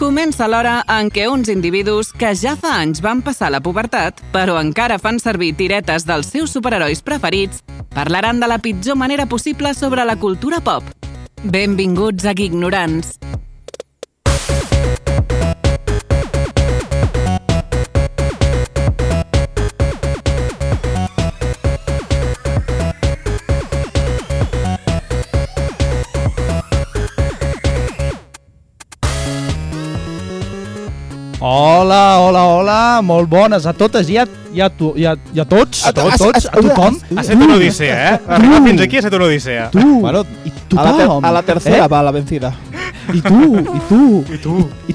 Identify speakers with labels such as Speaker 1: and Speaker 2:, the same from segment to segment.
Speaker 1: Comença l'hora en què uns individus que ja fa anys van passar la pubertat, però encara fan servir tiretes dels seus superherois preferits, parlaran de la pitjor manera possible sobre la cultura pop. Benvinguts a Ignorants.
Speaker 2: Hola, hola, hola, molt bones a totes i a, i a, tu, i a, i a tots, a, to, a tots, a tothom.
Speaker 3: Ha set una odissea, eh? Arribar fins aquí ha set una odissea.
Speaker 2: Tu, bueno, i
Speaker 4: A la,
Speaker 2: tothom.
Speaker 4: ter- a la tercera
Speaker 2: Eh?
Speaker 4: va la vencida.
Speaker 2: I tu, i tu,
Speaker 3: I tu.
Speaker 2: i tothom.
Speaker 3: I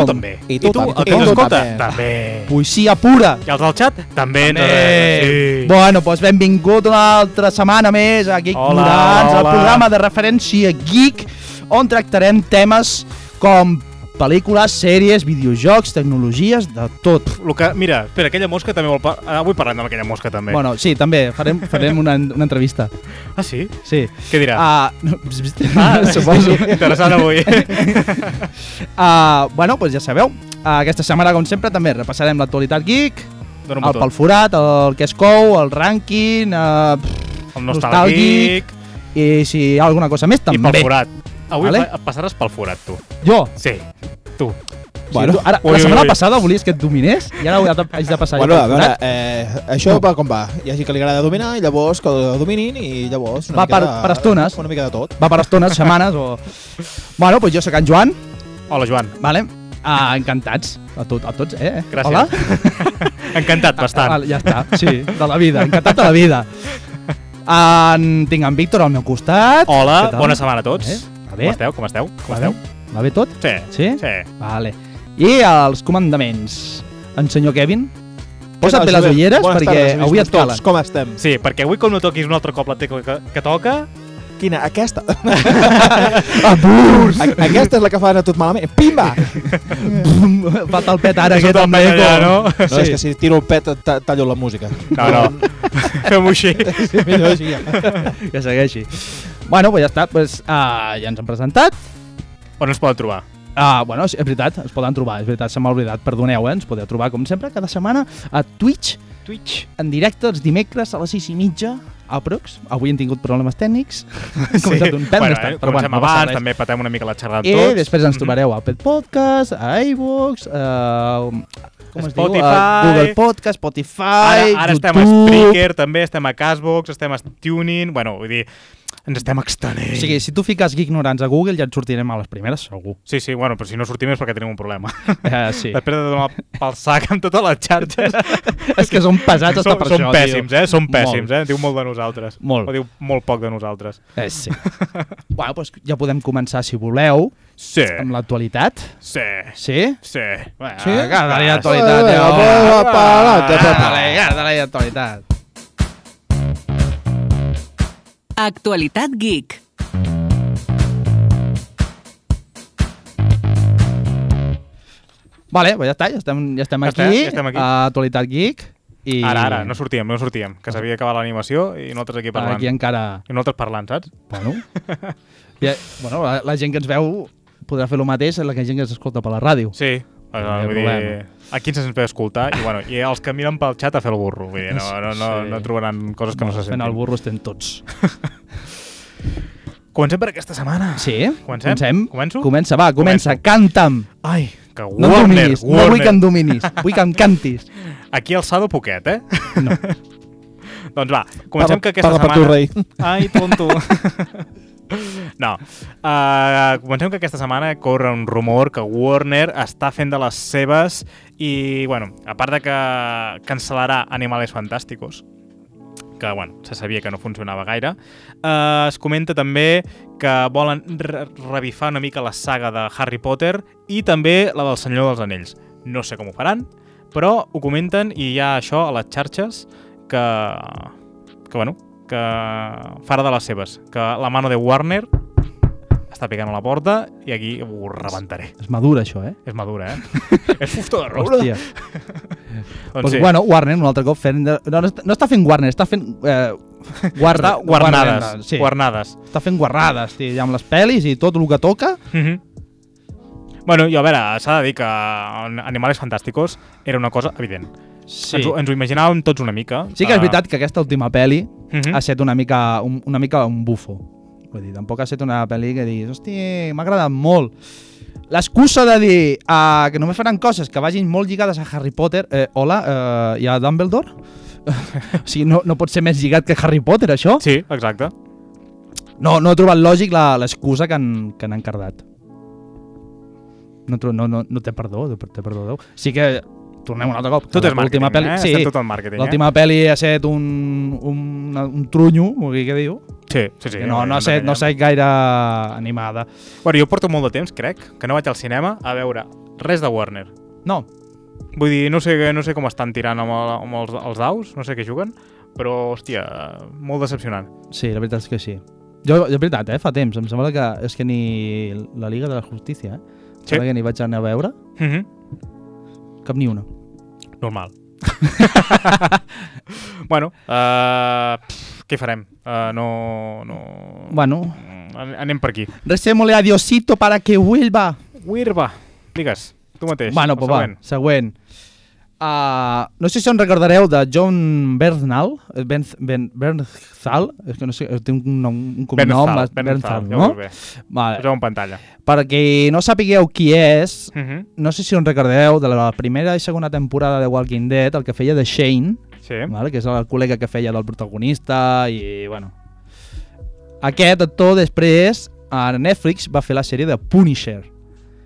Speaker 3: tu també.
Speaker 4: I tu també.
Speaker 3: el que
Speaker 4: I
Speaker 3: ens
Speaker 4: tu
Speaker 3: escolta,
Speaker 4: també.
Speaker 3: també.
Speaker 2: Poesia pura. Eh,
Speaker 3: I els del xat, també. Ne. Eh, Sí.
Speaker 2: Bueno, doncs benvingut una altra setmana més a Geek
Speaker 3: Hola,
Speaker 2: Ignorants, el
Speaker 3: hola.
Speaker 2: programa de referència geek, on tractarem temes com pel·lícules, sèries, videojocs, tecnologies, de tot.
Speaker 3: El que, mira, espera, aquella mosca també vol... Par... ah, Avui parlem amb aquella mosca també.
Speaker 2: Bueno, sí, també, farem, farem una, una entrevista.
Speaker 3: Ah, sí?
Speaker 2: Sí.
Speaker 3: Què dirà?
Speaker 2: Ah, no,
Speaker 3: ah
Speaker 2: suposo.
Speaker 3: sí, Interessant avui.
Speaker 2: Uh, bueno, doncs ja sabeu, uh, aquesta setmana, com sempre, també repassarem l'actualitat geek,
Speaker 3: Dóna'm
Speaker 2: el Ah, pel forat, el que es cou, el rànquing, uh,
Speaker 3: El
Speaker 2: nostàlgic,
Speaker 3: nostàlgic
Speaker 2: i si hi ha alguna cosa més,
Speaker 3: i
Speaker 2: també.
Speaker 3: pel forat. Avui
Speaker 2: Vale.
Speaker 3: fa- passaràs pel forat, tu.
Speaker 2: Jo?
Speaker 3: Sí, tu.
Speaker 2: Bueno,
Speaker 4: Bueno.
Speaker 2: sí, tu, ara,
Speaker 3: Ui,
Speaker 2: la
Speaker 3: ui,
Speaker 2: setmana
Speaker 3: ui.
Speaker 2: passada volies que et dominés i ara ho he de- haig de passar
Speaker 4: Bueno,
Speaker 2: jo
Speaker 4: a
Speaker 2: pel
Speaker 4: veure,
Speaker 2: forat.
Speaker 4: eh, això va com va. Hi ha gent que li agrada dominar i llavors que dominin i llavors una
Speaker 2: Va
Speaker 4: mica
Speaker 2: per-
Speaker 4: de,
Speaker 2: per estones.
Speaker 4: Una mica de tot.
Speaker 2: Va per estones, setmanes o... Bueno, doncs jo sóc en Joan,
Speaker 3: Hola, Joan.
Speaker 2: vale? Uh, encantats a, tot, a tots, eh?
Speaker 3: Gràcies.
Speaker 2: Hola?
Speaker 3: Encantat, bastant.
Speaker 2: Val, ja està, sí, de la vida, encantat de la vida. En, tinc en Víctor al meu costat.
Speaker 3: Hola,
Speaker 2: Què tal?
Speaker 3: bona setmana a tots.
Speaker 2: Eh? Va
Speaker 3: Com
Speaker 2: bé?
Speaker 3: esteu? Com esteu? Com
Speaker 2: Va bé?
Speaker 3: esteu?
Speaker 2: Va bé tot?
Speaker 3: Sí.
Speaker 2: Sí?
Speaker 3: Sí.
Speaker 2: Vale. I els comandaments. En senyor Kevin, posa't bé
Speaker 4: Què tal,
Speaker 2: les
Speaker 4: Josep?
Speaker 2: ulleres
Speaker 4: Bones
Speaker 2: perquè
Speaker 4: tardes,
Speaker 2: avui et
Speaker 4: amics tots.
Speaker 2: calen.
Speaker 4: Com estem?
Speaker 3: Sí, perquè avui com no toquis un altre cop la tecla que, que toca,
Speaker 4: Quina? Aquesta. Ah,
Speaker 2: Abús!
Speaker 4: A- Aquesta és la que fan a tot malament. Pimba!
Speaker 2: Fa tal pet ara
Speaker 3: Això
Speaker 2: aquest eh,
Speaker 3: te'l
Speaker 2: també.
Speaker 3: peta allà, no?
Speaker 4: No, és que si tiro el pet et ta- tallo la música.
Speaker 3: No, no. Fem-ho així.
Speaker 4: Sí, millor així.
Speaker 2: Que segueixi. Bueno, pues ja està, pues, ah, ja ens han presentat.
Speaker 3: On ens poden trobar?
Speaker 2: Ah, bueno, sí, és veritat, ens poden trobar, és veritat, se m'ha oblidat, perdoneu, eh? ens podeu trobar, com sempre, cada setmana a Twitch,
Speaker 3: Twitch.
Speaker 2: en directe els dimecres a les 6 i mitja, aprox. Avui hem tingut problemes tècnics, hem començat un pèl
Speaker 3: bueno,
Speaker 2: més tard,
Speaker 3: eh,
Speaker 2: però bueno,
Speaker 3: comencem
Speaker 2: no passa
Speaker 3: abans,
Speaker 2: res.
Speaker 3: també patem una mica la xerrada amb
Speaker 2: I
Speaker 3: tots. Mhm.
Speaker 2: després ens trobareu a Apple Podcast, a iVoox, a... Com es diu? A
Speaker 3: Spotify.
Speaker 2: Google Podcast, Spotify,
Speaker 3: Ara, ara
Speaker 2: YouTube...
Speaker 3: estem a Spreaker, també estem a Cashbox, estem a Tuning, bueno, vull dir, ens estem extenent.
Speaker 2: O sigui, si tu fiques ignorants a Google ja et sortirem a les primeres, segur.
Speaker 3: Sí, sí, bueno, però si no sortim és perquè tenim un problema.
Speaker 2: Eh, sí.
Speaker 3: Després de donar pel sac amb totes les xarxes.
Speaker 2: és que són pesats hasta
Speaker 3: Som,
Speaker 2: per
Speaker 3: som
Speaker 2: això,
Speaker 3: pèssims, eh? Som
Speaker 2: Molt.
Speaker 3: pèssims, eh? Diu molt de nosaltres.
Speaker 2: Molt.
Speaker 3: O diu molt poc de nosaltres.
Speaker 2: eh? eh sí. bueno, doncs ja podem començar, si voleu,
Speaker 3: Sí,
Speaker 2: amb l'actualitat.
Speaker 3: sí,
Speaker 2: Sí?
Speaker 3: sí. eh, Bueno,
Speaker 2: Sí? Cada dia
Speaker 3: sí.
Speaker 2: actualitat,
Speaker 4: Vinga,
Speaker 2: tio.
Speaker 4: va, va, pa,
Speaker 3: Ah.
Speaker 4: adelante, pa, pa.
Speaker 2: Dale, ja, dale, tota actualitat.
Speaker 1: Actualitat Geek.
Speaker 2: Vale, pues ja està, ja estem, ja estem
Speaker 3: Ja
Speaker 2: aquí,
Speaker 3: està, ja estem aquí.
Speaker 2: a Actualitat Geek. I Ah.
Speaker 3: Ara, ara, no sortíem, no sortíem, que s'havia acabat l'animació i nosaltres aquí parlant.
Speaker 2: Aquí encara...
Speaker 3: I nosaltres parlant, saps?
Speaker 2: Bueno, ja, bueno la, la gent que ens veu podrà fer el mateix a la que gent que ens escolta per la ràdio.
Speaker 3: Sí.
Speaker 2: No hi
Speaker 3: No,
Speaker 2: ha
Speaker 3: vull dir,
Speaker 2: problema.
Speaker 3: aquí ens ve escoltar i, bueno, i els que miren pel xat a fer el burro. Vull dir, no, no, no,
Speaker 2: Sí.
Speaker 3: no trobaran coses que no se
Speaker 2: Fent el
Speaker 3: sentin.
Speaker 2: burro estem tots.
Speaker 3: Comencem per aquesta setmana.
Speaker 2: Sí?
Speaker 3: Comencem?
Speaker 2: Comencem?
Speaker 3: Començo?
Speaker 2: Comença, va, comença,
Speaker 3: Començo.
Speaker 2: canta'm.
Speaker 3: Ai, que
Speaker 2: No em
Speaker 3: Warner,
Speaker 2: dominis,
Speaker 3: Warner.
Speaker 2: no vull que em dominis, vull que em cantis.
Speaker 3: Aquí al Sado Poquet, eh?
Speaker 2: No.
Speaker 3: doncs va,
Speaker 4: Parla-
Speaker 3: comencem que aquesta
Speaker 4: parla per
Speaker 3: setmana...
Speaker 4: tu, rei.
Speaker 3: Ai, tonto. no. Uh, comencem que aquesta setmana corre un rumor que Warner està fent de les seves i, bueno, a part de que cancel·larà Animales Fantásticos, que, bueno, se sabia que no funcionava gaire, eh, es comenta també que volen re revifar una mica la saga de Harry Potter i també la del Senyor dels Anells. No sé com ho faran, però ho comenten i hi ha això a les xarxes que, que bueno, que farà de les seves, que la mano de Warner està picant a la porta i aquí ho rebentaré.
Speaker 2: És madura, això, eh?
Speaker 3: És madura, eh? És fusta de roure.
Speaker 2: Hòstia.
Speaker 3: Doncs
Speaker 2: Pues,
Speaker 3: sí.
Speaker 2: Bueno, Warner, un altre cop fent... De... No, no, està, no està fent Warner, està fent... Eh, guar...
Speaker 3: Està guarnades.
Speaker 2: Sí,
Speaker 3: Guarnades.
Speaker 2: està fent guarrades, tio, ja amb les pel·lis i tot el que toca.
Speaker 3: Mhm. Bueno, i a veure, s'ha de dir que Animales Fantàsticos era una cosa evident.
Speaker 2: Sí.
Speaker 3: Ens, ho, ens ho imaginàvem tots una mica. Ah,
Speaker 2: Sí que és veritat que aquesta última pel·li
Speaker 3: Mhm.
Speaker 2: ha estat una mica un, una mica un bufo. Vull dir, tampoc ha estat una pel·li que diguis, hosti, m'ha agradat molt. L'excusa de dir uh, que només faran coses que vagin molt lligades a Harry Potter, eh, hola, eh, hi ha Dumbledore? o sigui, no, no pot ser més lligat que Harry Potter, això?
Speaker 3: Sí, exacte.
Speaker 2: No, no he trobat lògic la- l'excusa que, han, que han encardat. No, tro- no, no, no té perdó, té perdó Déu. Sí que tornem un altre cop.
Speaker 3: Tot és màrqueting,
Speaker 2: L'última pel·li-
Speaker 3: eh?
Speaker 2: Sí,
Speaker 3: Estem tot en màrqueting, eh?
Speaker 2: L'última pel·li ha estat un, un, un trunyo, o què diu?
Speaker 3: eh? Sí, sí, sí.
Speaker 2: que no, no, ha estat,
Speaker 3: sé,
Speaker 2: no ha estat gaire animada.
Speaker 3: Bueno, jo porto molt de temps, crec, que no vaig al cinema a veure res de Warner.
Speaker 2: No,
Speaker 3: Vull dir, no sé, no sé com estan tirant amb, el, amb els, els daus, no sé què juguen, però, hòstia, molt decepcionant.
Speaker 2: sí, la veritat és que sí. Jo, de veritat, eh, fa temps, em sembla que és que ni la Liga de la Justícia, eh? Em
Speaker 3: Sí.
Speaker 2: sembla que ni vaig anar a veure,
Speaker 3: Mm -hmm.
Speaker 2: cap ni una.
Speaker 3: Normal. bueno, uh, pff, què farem? Uh, no, no...
Speaker 2: Bueno,
Speaker 3: Mm, an- Anem per aquí.
Speaker 2: recémosle a Diosito para que vuelva.
Speaker 3: Wirba, digues, tu mateix.
Speaker 2: Bueno,
Speaker 3: el
Speaker 2: pues va,
Speaker 3: següent.
Speaker 2: següent. Uh, no sé si en recordareu de John Bernthal, eh, ben, ben, Bernthal, és que no sé, eh, té un, nom, un cognom,
Speaker 3: Bernthal,
Speaker 2: mas-
Speaker 3: Bernthal, ja ho veus
Speaker 2: no?
Speaker 3: bé.
Speaker 2: Vale.
Speaker 3: Poseu en pantalla.
Speaker 2: Perquè no sapigueu qui és,
Speaker 3: Mm -hmm.
Speaker 2: no sé si en recordeu de la primera i segona temporada de Walking Dead, el que feia de Shane,
Speaker 3: Sí.
Speaker 2: vale? que és el col·lega que feia del protagonista i, bueno... Aquest actor després a Netflix va fer la sèrie de Punisher,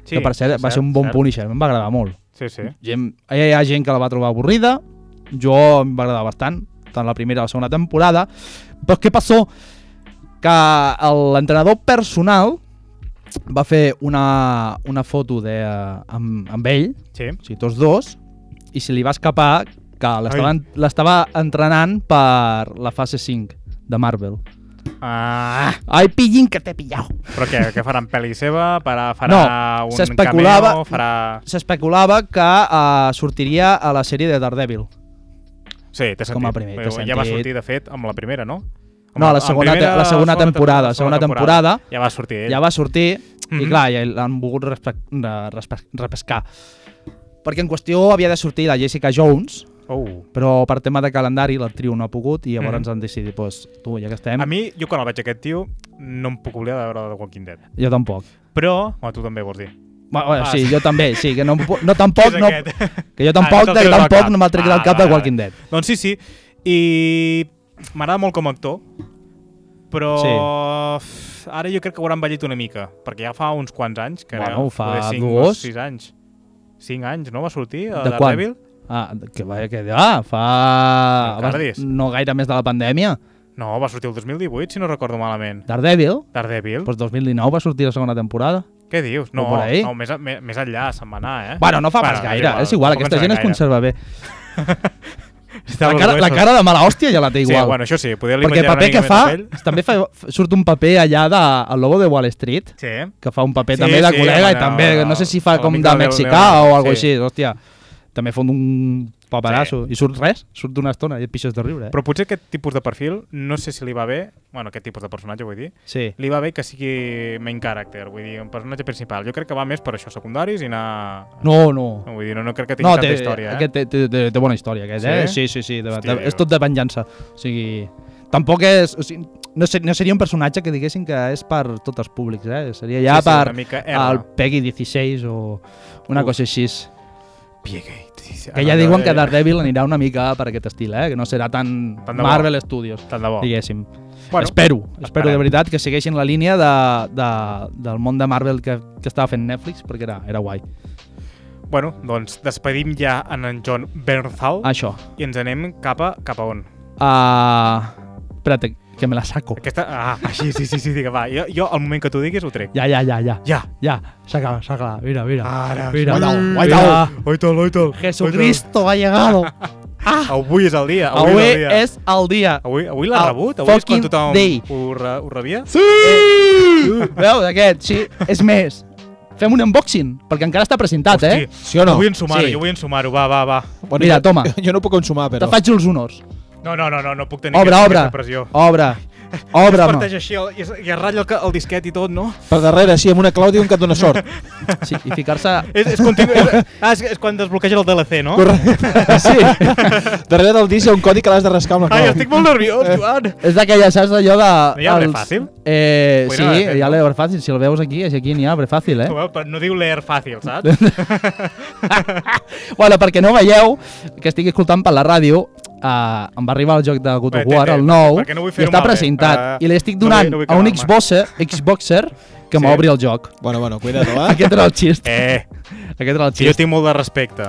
Speaker 3: sí
Speaker 2: que per cert va ser un bon
Speaker 3: cert.
Speaker 2: Punisher, em va agradar molt
Speaker 3: Sí, sí.
Speaker 2: gent, hi ha gent que la va trobar avorrida, jo em va agradar bastant, tant la primera com la segona temporada, però què passó? Que el- l'entrenador personal va fer una, una foto de, eh, amb, amb ell,
Speaker 3: Sí.
Speaker 2: o sigui, tots dos, i se li va escapar que l'estava en- l'estava entrenant per la fase 5 de Marvel.
Speaker 3: Ah,
Speaker 2: Ai, pillin que t'he pillat!
Speaker 3: però què, què faran pel·li seva? Farà, farà
Speaker 2: No,
Speaker 3: un
Speaker 2: s'especulava-
Speaker 3: cameo? Farà...
Speaker 2: S'especulava que eh, sortiria a la sèrie de Daredevil.
Speaker 3: Sí, té sentit.
Speaker 2: Com a primer, té
Speaker 3: ja va
Speaker 2: sentit.
Speaker 3: sortir, de fet, amb la primera, no?
Speaker 2: No, la segona te- la segona temporada, la segona temporada.
Speaker 3: Ja va sortir ell.
Speaker 2: ja va sortir mm -hmm.
Speaker 3: Mhm.
Speaker 2: i clar, ja l'han volgut respe- de- respe- repescar. Perquè en qüestió havia de sortir la Jessica Jones,
Speaker 3: Oh.
Speaker 2: però per tema de calendari l'actriu no ha pogut i llavors
Speaker 3: Mhm.
Speaker 2: ens han decidit, doncs, tu, ja que estem,
Speaker 3: A mi, jo quan el veig aquest tio, no em puc oblidar de veure The Walking Dead.
Speaker 2: jo tampoc.
Speaker 3: Però, bueno, tu també vols dir.
Speaker 2: Va, va,
Speaker 3: Ah,
Speaker 2: sí,
Speaker 3: sí.
Speaker 2: jo també, sí, que no, em pu- no tampoc,
Speaker 3: És
Speaker 2: no,
Speaker 3: aquest.
Speaker 2: que jo
Speaker 3: Ah,
Speaker 2: tampoc,
Speaker 3: no
Speaker 2: ah,
Speaker 3: te'l
Speaker 2: que
Speaker 3: treus del
Speaker 2: tampoc
Speaker 3: cap.
Speaker 2: no m'ha tret del
Speaker 3: Ah,
Speaker 2: cap de
Speaker 3: vale,
Speaker 2: Walking Dead.
Speaker 3: Doncs sí, sí. I m'agrada molt com a actor, però
Speaker 2: Sí.
Speaker 3: f- ara jo crec que ho hauran ballit una mica, perquè ja fa uns quants anys, que
Speaker 2: Bueno, fa
Speaker 3: poder cinc,
Speaker 2: dos.
Speaker 3: 6 anys. 5 anys, no? Va sortir a
Speaker 2: De quan?
Speaker 3: Daredevil?
Speaker 2: Ah, que va quedar fa...
Speaker 3: Encara dius?
Speaker 2: no gaire més de la pandèmia.
Speaker 3: No, va sortir el 2018, si no recordo malament.
Speaker 2: Daredevil,
Speaker 3: Daredevil?
Speaker 2: doncs 2019 va sortir la segona temporada.
Speaker 3: Què dius? No,
Speaker 2: O per ahí.
Speaker 3: no més, a- me- més enllà, se'n va anar, eh?
Speaker 2: Bueno, no fa pas gaire, és igual,
Speaker 3: tampoc
Speaker 2: aquesta
Speaker 3: ens
Speaker 2: gent es
Speaker 3: agrada
Speaker 2: conserva bé.
Speaker 3: gaire.
Speaker 2: La cara, la cara de mala hòstia ja la té
Speaker 3: Sí,
Speaker 2: igual.
Speaker 3: bueno, això sí, poder li
Speaker 2: Perquè el
Speaker 3: menjar una
Speaker 2: paper
Speaker 3: mica
Speaker 2: que
Speaker 3: més
Speaker 2: fa,
Speaker 3: de pell.
Speaker 2: també fa, surt un paper allà de, el Lobo de Wall Street,
Speaker 3: Sí.
Speaker 2: que fa un paper
Speaker 3: Sí,
Speaker 2: també de
Speaker 3: sí,
Speaker 2: col·lega
Speaker 3: home,
Speaker 2: i també,
Speaker 3: no,
Speaker 2: no sé si fa
Speaker 3: no,
Speaker 2: com
Speaker 3: amic
Speaker 2: de
Speaker 3: del
Speaker 2: mexicà
Speaker 3: Leo-
Speaker 2: o alguna
Speaker 3: sí.
Speaker 2: així, hòstia. També fot un paperasso. I surt res, surt d'una estona i et pixes de riure, eh?
Speaker 3: Però potser aquest tipus de perfil, no sé si li va bé, bueno, aquest tipus de personatge vull dir,
Speaker 2: Sí.
Speaker 3: li va bé que sigui main character, vull dir, un personatge principal. Jo crec que va més per això, secundaris i anar...
Speaker 2: No, no.
Speaker 3: No, vull dir, no, no crec que tingui
Speaker 2: No,
Speaker 3: tanta
Speaker 2: té,
Speaker 3: història, eh?
Speaker 2: aquest, té, té, té, té bona història, aquest, eh? Sí,
Speaker 3: Sí?
Speaker 2: sí, sí. De,
Speaker 3: Hòstia,
Speaker 2: de, és
Speaker 3: jo.
Speaker 2: tot de venjança. O sigui, tampoc és... O sigui, no, ser, no seria un personatge que diguéssim que és per tots els públics, eh? Seria ja
Speaker 3: Sí, sí, una
Speaker 2: per
Speaker 3: mica R.
Speaker 2: el Peggy 16 o una
Speaker 3: Uf.
Speaker 2: cosa així.
Speaker 3: Piegate. Sí, sí,
Speaker 2: Que
Speaker 3: ara
Speaker 2: ja
Speaker 3: no eh,
Speaker 2: diuen que
Speaker 3: deia.
Speaker 2: Daredevil anirà una mica per aquest estil, eh? Que no serà tan,
Speaker 3: Tant de bo.
Speaker 2: Marvel Studios,
Speaker 3: Tant de bo.
Speaker 2: diguéssim.
Speaker 3: Bueno,
Speaker 2: espero, espero
Speaker 3: esperem.
Speaker 2: de veritat que segueixin la línia de, de, del món de Marvel que, que estava fent Netflix, perquè era, era guai.
Speaker 3: Bueno, doncs despedim ja en en John Bernthal
Speaker 2: Això.
Speaker 3: i ens anem cap a, cap a on?
Speaker 2: Uh, espérate, que me la saco.
Speaker 3: Aquesta... Ah, així, sí, sí, sí, digue, va. Jo, jo al moment que tu diguis, ho trec.
Speaker 2: Ja, ja, ja, ja.
Speaker 3: Ja.
Speaker 2: Ja, s'acaba, s'acaba. Mira, mira.
Speaker 3: Ara,
Speaker 2: mira,
Speaker 4: guaita-ho,
Speaker 2: mira.
Speaker 4: guaita-ho.
Speaker 3: Oitol, oitol.
Speaker 2: Jesucristo ha llegado. Ah,
Speaker 3: Avui és el dia. Avui,
Speaker 2: avui
Speaker 3: és el dia.
Speaker 2: és el dia.
Speaker 3: Avui, avui l'ha
Speaker 2: El
Speaker 3: rebut? Avui és quan
Speaker 2: fucking
Speaker 3: tothom
Speaker 2: day.
Speaker 3: ho, re, ho rebia?
Speaker 2: Sí! Veus, aquest, sí. És més, fem un unboxing, perquè encara està presentat, eh?
Speaker 4: Sí o no?
Speaker 3: Jo vull ensumar-ho,
Speaker 2: Sí.
Speaker 3: jo vull ensumar-ho, va, va, va.
Speaker 4: Bueno,
Speaker 2: Mira,
Speaker 4: jo-
Speaker 2: toma.
Speaker 4: Jo no puc consumar, però...
Speaker 2: Te faig els honors.
Speaker 3: No, no, no, no, no puc tenir
Speaker 2: Obre,
Speaker 3: aquesta,
Speaker 2: obre.
Speaker 3: aquesta pressió.
Speaker 2: Obre. Obre,
Speaker 3: es
Speaker 2: no.
Speaker 3: parteix així el, i, es, i es ratlla el, ca- el disquet i tot, no?
Speaker 4: Per darrere, sí, amb una clau diuen que et dona sort.
Speaker 2: Sí, i ficar-se...
Speaker 3: És, és, continu... és, ah, és, és quan desbloqueja el DLC, no?
Speaker 4: Correcte. Sí. Darrere del disc hi ha un codi que l'has de rascar amb la clau.
Speaker 3: Ai, estic molt nerviós,
Speaker 2: Eh?
Speaker 3: Joan.
Speaker 2: És d'aquella, saps, d'allò de...
Speaker 3: No hi ha abre fàcil?
Speaker 2: Eh,
Speaker 3: Vull
Speaker 2: sí,
Speaker 3: anar de fet,
Speaker 2: hi ha
Speaker 3: no?
Speaker 2: l'Ebre Fàcil. Si el veus aquí, és aquí n'hi ha Ebre Fàcil, eh?
Speaker 3: Ho veu, però no diu leer fàcil, saps?
Speaker 2: bueno, perquè no veieu, que estic escoltant per la ràdio, eh, em va arribar el joc de God
Speaker 3: Bé,
Speaker 2: of
Speaker 3: té,
Speaker 2: War,
Speaker 3: té,
Speaker 2: el nou,
Speaker 3: perquè no vull
Speaker 2: i
Speaker 3: fer-ho
Speaker 2: està
Speaker 3: malbé.
Speaker 2: precintat.
Speaker 3: Eh,
Speaker 2: I li estic
Speaker 3: no vull-
Speaker 2: donant
Speaker 3: no vull
Speaker 2: a un
Speaker 3: quedar
Speaker 2: Xboxer, Xboxer que
Speaker 3: Sí.
Speaker 2: m'obri el joc.
Speaker 4: Bueno, bueno, cuidado, va.
Speaker 2: Aquest era el xist.
Speaker 3: Eh,
Speaker 2: Aquest era el
Speaker 3: que jo
Speaker 2: xist.
Speaker 3: tinc molt de respecte.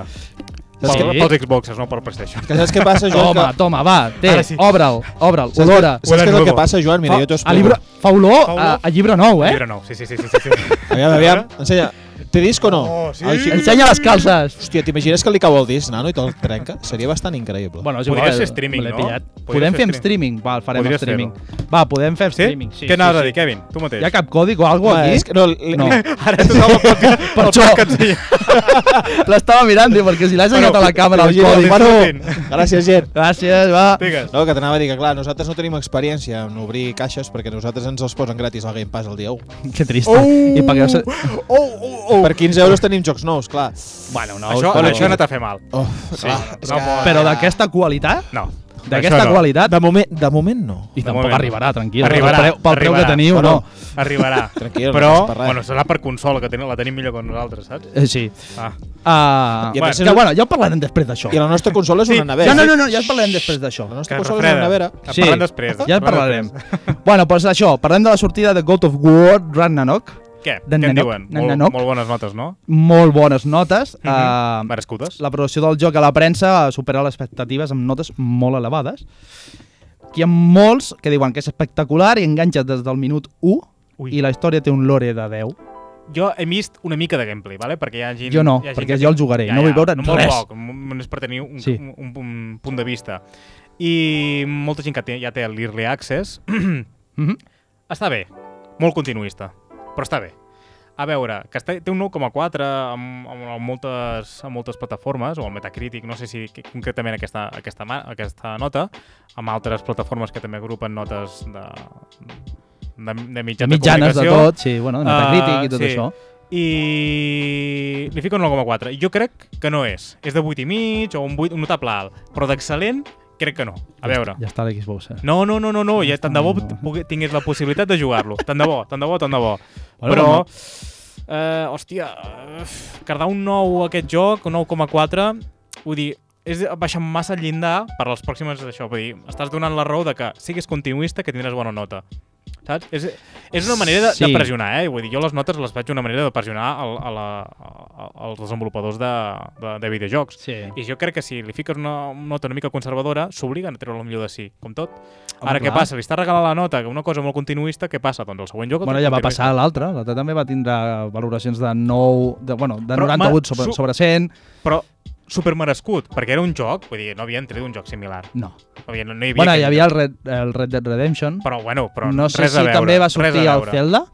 Speaker 2: Saps
Speaker 3: Pel,
Speaker 2: què?
Speaker 3: pels Xboxes, no pel PlayStation.
Speaker 4: Que saps què passa, Joan?
Speaker 2: Toma,
Speaker 4: que...
Speaker 2: toma, va, té,
Speaker 3: Ara sí.
Speaker 2: obre'l, obre'l,
Speaker 4: Saps,
Speaker 2: olora.
Speaker 4: que, saps què és el
Speaker 3: Huele
Speaker 4: que passa, Joan? Mira, jo t'ho
Speaker 2: Fa, a
Speaker 4: explico.
Speaker 2: llibre, fa olor
Speaker 3: Fa
Speaker 2: a,
Speaker 3: olor.
Speaker 2: a llibre nou, eh?
Speaker 3: Llibre nou, sí, sí, sí. sí, sí, sí.
Speaker 4: Aviam, aviam.
Speaker 2: Ah.
Speaker 4: Ensenya. Té disc o no?
Speaker 3: Oh, sí.
Speaker 4: Ai,
Speaker 2: Ensenya les calces.
Speaker 4: Hòstia, t'imagines que li cau el disc, nano, i te'l trenca? Seria bastant increïble.
Speaker 2: Bueno, és
Speaker 3: Podria
Speaker 2: igual,
Speaker 3: ser streaming,
Speaker 2: me l'he
Speaker 3: no?
Speaker 2: pillat.
Speaker 3: Podria
Speaker 2: Podem
Speaker 3: ser
Speaker 2: fer amb streaming?
Speaker 3: streaming.
Speaker 2: Val, farem
Speaker 3: Podries
Speaker 2: streaming. Va, podem fer amb
Speaker 3: Sí?
Speaker 2: streaming.
Speaker 3: Què anaves a dir, Kevin? Tu mateix.
Speaker 2: Hi ha cap còdic o alguna
Speaker 4: Home,
Speaker 2: cosa
Speaker 4: és
Speaker 2: aquí?
Speaker 4: que no, li,
Speaker 2: eh, No.
Speaker 4: no.
Speaker 3: Ara tothom el pot dir.
Speaker 2: Per
Speaker 3: el
Speaker 2: això.
Speaker 3: pot que ens deia.
Speaker 2: L'estava mirant, diu, perquè si l'has
Speaker 3: Bueno,
Speaker 2: ensenyat a la càmera el
Speaker 3: imagina't,
Speaker 2: codi.
Speaker 3: bueno.
Speaker 4: Gràcies, gent.
Speaker 2: Gràcies, va.
Speaker 3: Digues.
Speaker 4: No, que t'anava a dir que, clar, nosaltres no tenim experiència en obrir caixes perquè nosaltres ens els posen gratis al Game Pass el dia 1.
Speaker 2: Que trista.
Speaker 3: Oh!
Speaker 2: I pagueu... se-
Speaker 3: Oh, oh,
Speaker 2: Uh.
Speaker 3: oh.
Speaker 4: Per 15 euros tenim jocs nous, clar.
Speaker 2: Bueno, no.
Speaker 3: Això,
Speaker 2: però-
Speaker 3: això no t'ha fet mal.
Speaker 4: Oh,
Speaker 3: Sí.
Speaker 4: clar,
Speaker 2: eh?
Speaker 4: és
Speaker 3: No,
Speaker 4: que-
Speaker 2: Però d'aquesta qualitat?
Speaker 3: No.
Speaker 2: D'aquesta
Speaker 3: Això no.
Speaker 2: qualitat?
Speaker 4: De moment, de moment no.
Speaker 2: I
Speaker 3: De
Speaker 2: tampoc
Speaker 3: moment.
Speaker 2: arribarà, tranquil. Pel
Speaker 3: Arribarà,
Speaker 2: preu, pel preu que
Speaker 3: arribarà.
Speaker 2: teniu, no?
Speaker 4: Bueno.
Speaker 3: Arribarà.
Speaker 4: Tranquil,
Speaker 3: Però,
Speaker 4: no passa per res.
Speaker 3: bueno, serà per consola, que ten la tenim millor que nosaltres, saps?
Speaker 2: Eh, Sí.
Speaker 3: Ah.
Speaker 2: Ah,
Speaker 4: I a
Speaker 2: bueno,
Speaker 4: més-
Speaker 2: que, bueno, ja ho parlarem després d'això.
Speaker 4: I la nostra consola és
Speaker 3: Sí.
Speaker 4: una nevera.
Speaker 2: Ja, no, no, no, ja en parlarem després d'això.
Speaker 4: La
Speaker 3: Que
Speaker 4: nostra
Speaker 3: es
Speaker 4: consola és
Speaker 3: refreda.
Speaker 4: una nevera.
Speaker 3: En parlem després.
Speaker 2: Ja en
Speaker 3: en
Speaker 2: parlarem. bueno, doncs això, parlem de la sortida de God of War Ragnarok.
Speaker 3: Què?
Speaker 2: D'en
Speaker 3: Què en
Speaker 2: Nanoc.
Speaker 3: diuen?
Speaker 2: D'en
Speaker 3: Molt,
Speaker 2: Nanoc.
Speaker 3: molt bones notes, no?
Speaker 2: Molt bones notes. Mm
Speaker 3: Mhm.
Speaker 2: -hmm.
Speaker 3: Merescudes.
Speaker 2: la producció del joc a la premsa supera les expectatives amb notes molt elevades. Hi ha molts que diuen que és espectacular i enganxa des del minut 1
Speaker 3: Ui.
Speaker 2: i la història té un lore de 10.
Speaker 3: Jo he vist una mica de gameplay, vale? perquè hi ha gent...
Speaker 2: Jo no,
Speaker 3: hi ha gent
Speaker 2: perquè
Speaker 3: que
Speaker 2: jo el
Speaker 3: té-
Speaker 2: jugaré, no vull veure
Speaker 3: no molt
Speaker 2: res.
Speaker 3: Poc, només per tenir un,
Speaker 2: Sí.
Speaker 3: sí. un, un, un punt de vista. I molta gent que té, ja té l'Early Access.
Speaker 2: Mm
Speaker 3: Mhm.
Speaker 2: -hmm.
Speaker 3: està bé, molt continuista, però està bé. A veure, que està, té un 9,4 amb, amb, amb, moltes, amb moltes plataformes, o el Metacritic, no sé si que- concretament aquesta, aquesta, ma- aquesta nota, amb altres plataformes que també agrupen notes de, de, de mitjans
Speaker 2: Mitjanes
Speaker 3: de
Speaker 2: de
Speaker 3: comunicació.
Speaker 2: tot, sí, bueno, de Metacritic
Speaker 3: Ah,
Speaker 2: i tot
Speaker 3: sí.
Speaker 2: això.
Speaker 3: I li fico un 9,4. Jo crec que no és. És de 8,5 o un 8, un notable alt. Però d'excel·lent, crec que no. A veure.
Speaker 2: Ja està l'Xbox. Eh?
Speaker 3: No, no, no, no, no. Ja, tant de bo pugui- tingués la possibilitat de jugar-lo. Tant de bo, tant de bo, tant de bo.
Speaker 2: Bueno,
Speaker 3: Però,
Speaker 2: bueno.
Speaker 3: eh, hòstia, eh, cardar un 9 a aquest joc, un 9,4, vull dir, és baixar massa el llindar per a les pròximes d'això. Vull dir, estàs donant la raó de que siguis continuista que tindràs bona nota. Saps? És, és una manera de,
Speaker 2: Sí.
Speaker 3: sí. de pressionar, eh? Vull dir, jo les notes les veig una manera de pressionar el, a la, a, als desenvolupadors de, de, de videojocs.
Speaker 2: Sí.
Speaker 3: I jo crec que si li fiques una, una nota una mica conservadora, s'obliguen a treure el millor de si, com tot.
Speaker 2: Home,
Speaker 3: Home, Ara, què
Speaker 2: clar.
Speaker 3: passa? Li està regalant la nota, que una cosa molt continuista, què passa? Doncs el següent joc... el
Speaker 2: Bueno, ja va
Speaker 3: continuista.
Speaker 2: passar l'altre. L'altre també va tindre valoracions de 9, de, bueno, de
Speaker 3: Però,
Speaker 2: 98
Speaker 3: ma-
Speaker 2: sobre,
Speaker 3: su-
Speaker 2: sobre 100.
Speaker 3: Però supermerescut, perquè era un joc, vull dir, no havien tret un joc similar.
Speaker 2: No.
Speaker 3: No havia, no, no hi havia
Speaker 2: Bueno, hi
Speaker 3: aquest
Speaker 2: havia el
Speaker 3: joc.
Speaker 2: Red, el Red Dead Redemption.
Speaker 3: Però, bueno, però
Speaker 2: no sé
Speaker 3: res
Speaker 2: si
Speaker 3: a veure,
Speaker 2: també va
Speaker 3: res a
Speaker 2: sortir el
Speaker 3: veure.
Speaker 2: Zelda.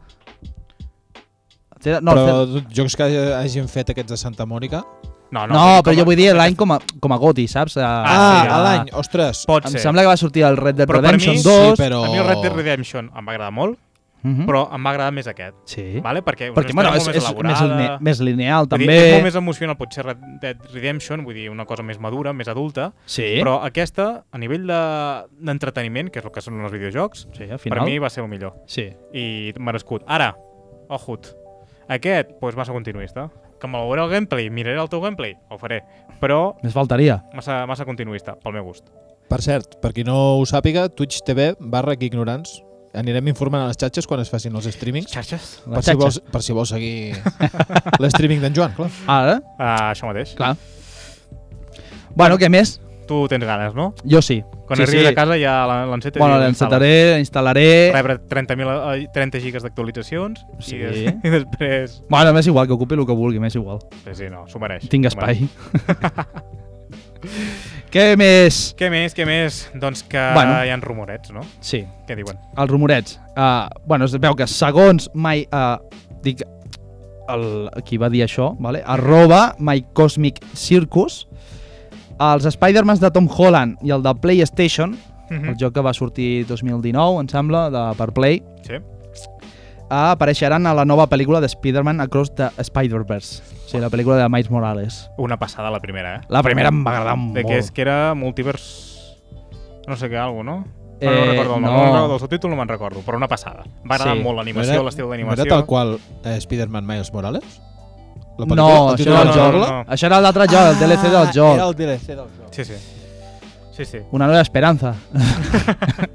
Speaker 2: Zelda- No,
Speaker 4: No,
Speaker 2: el
Speaker 4: però
Speaker 2: Zelda-
Speaker 4: tot jocs que hagin fet aquests de Santa Mònica...
Speaker 3: No, Ah, no,
Speaker 2: No,
Speaker 3: vull dir,
Speaker 2: però
Speaker 3: com
Speaker 2: jo
Speaker 3: a-
Speaker 2: vull dir l'any com, a, com a goti, saps?
Speaker 4: Ah,
Speaker 3: Ah, sí,
Speaker 4: a
Speaker 3: ah.
Speaker 4: l'any, ostres.
Speaker 3: Pot
Speaker 2: Em
Speaker 3: ser.
Speaker 2: sembla que va sortir el Red Dead
Speaker 3: Però per
Speaker 2: Redemption
Speaker 3: mi-
Speaker 2: 2.
Speaker 4: Sí, però-
Speaker 3: A mi el Red Dead Redemption em va agradar molt,
Speaker 2: Mhm.
Speaker 3: però em va agradar més aquest.
Speaker 2: Sí.
Speaker 3: Vale? Perquè,
Speaker 2: Perquè,
Speaker 3: una
Speaker 2: bueno,
Speaker 3: història
Speaker 2: és,
Speaker 3: molt
Speaker 2: és més,
Speaker 3: elaborada.
Speaker 2: line- més lineal,
Speaker 3: Vull dir,
Speaker 2: també.
Speaker 3: És molt més emocional, potser Red Dead Redemption, vull dir, una cosa més madura, més adulta,
Speaker 2: Sí,
Speaker 3: Però aquesta, a nivell de- d'entreteniment, que és el que són els videojocs,
Speaker 2: sí, al
Speaker 3: per
Speaker 2: final.
Speaker 3: mi va ser el millor.
Speaker 2: Sí.
Speaker 3: I merescut. Ara, ojut, aquest doncs, va ser continuista. Que me'l veuré el gameplay, miraré el teu gameplay, ho faré. Però
Speaker 2: Més faltaria.
Speaker 3: massa, massa continuista, pel meu gust.
Speaker 4: Per cert, per qui no ho sàpiga, Twitch TV barra que ignorants. Anirem informant a les xatxes quan es facin els streamings.
Speaker 3: Xarxes?
Speaker 2: La
Speaker 4: Per si,
Speaker 2: xatxa.
Speaker 4: vols, per si vols seguir l'streaming d'en Joan, clar.
Speaker 2: Ara,
Speaker 3: Ah, això mateix.
Speaker 2: eh? clar. Bueno, què més?
Speaker 3: Tu tens ganes, no?
Speaker 2: Jo sí.
Speaker 3: Quan
Speaker 2: sí,
Speaker 3: arribis
Speaker 2: sí.
Speaker 3: a casa ja la- l'encetes
Speaker 2: Bueno,
Speaker 3: i
Speaker 2: l'encetaré, instal·laré...
Speaker 3: Rebre 30.000, eh, 30 gigas d'actualitzacions
Speaker 2: Sí.
Speaker 3: i, des, i després...
Speaker 2: Bueno, m'és igual, que ocupi el que vulgui, m'és igual.
Speaker 3: Sí, sí, no, s'ho mereix.
Speaker 2: Tinc
Speaker 3: s'ho mereix.
Speaker 2: espai. què més?
Speaker 3: Què més, què més? Doncs que
Speaker 2: Bueno.
Speaker 3: hi ha rumorets, no?
Speaker 2: Sí,
Speaker 3: Què diuen?
Speaker 2: els rumorets. Uh, bueno, es veu que segons mai... Uh, dic, el, qui va dir això, vale? arroba My Cosmic Circus, els Spider-Mans de Tom Holland i el de PlayStation
Speaker 3: Mhm.
Speaker 2: el joc que va sortir 2019, em sembla, de, per Play,
Speaker 3: Sí.
Speaker 2: ah, apareixeran a la nova pel·lícula de Spider-Man Across the Spider-Verse, o sigui, la pel·lícula de Miles Morales.
Speaker 3: Una passada, la primera, eh?
Speaker 2: La primera em va agradar
Speaker 3: De
Speaker 2: molt.
Speaker 3: que és que era multivers... No sé què, algo, no? Però no
Speaker 2: Eh,
Speaker 3: recordo el nom,
Speaker 2: no.
Speaker 3: no. recordo el subtítol, no me'n recordo, però una passada. Va agradar
Speaker 2: Sí.
Speaker 3: molt
Speaker 4: No
Speaker 3: l'animació,
Speaker 4: era-
Speaker 3: l'estil
Speaker 4: No
Speaker 3: d'animació.
Speaker 4: era tal qual eh, Spider-Man Miles Morales?
Speaker 2: No,
Speaker 4: La pel·lícula? El
Speaker 2: això
Speaker 4: títol
Speaker 2: era
Speaker 4: del
Speaker 2: el
Speaker 4: joc?
Speaker 2: joc.
Speaker 3: no, no.
Speaker 2: Això era l'altre joc, el DLC del joc.
Speaker 4: Ah, Era el DLC del joc.
Speaker 3: Sí, sí. Sí, sí.
Speaker 2: Una nova esperanza. Ah,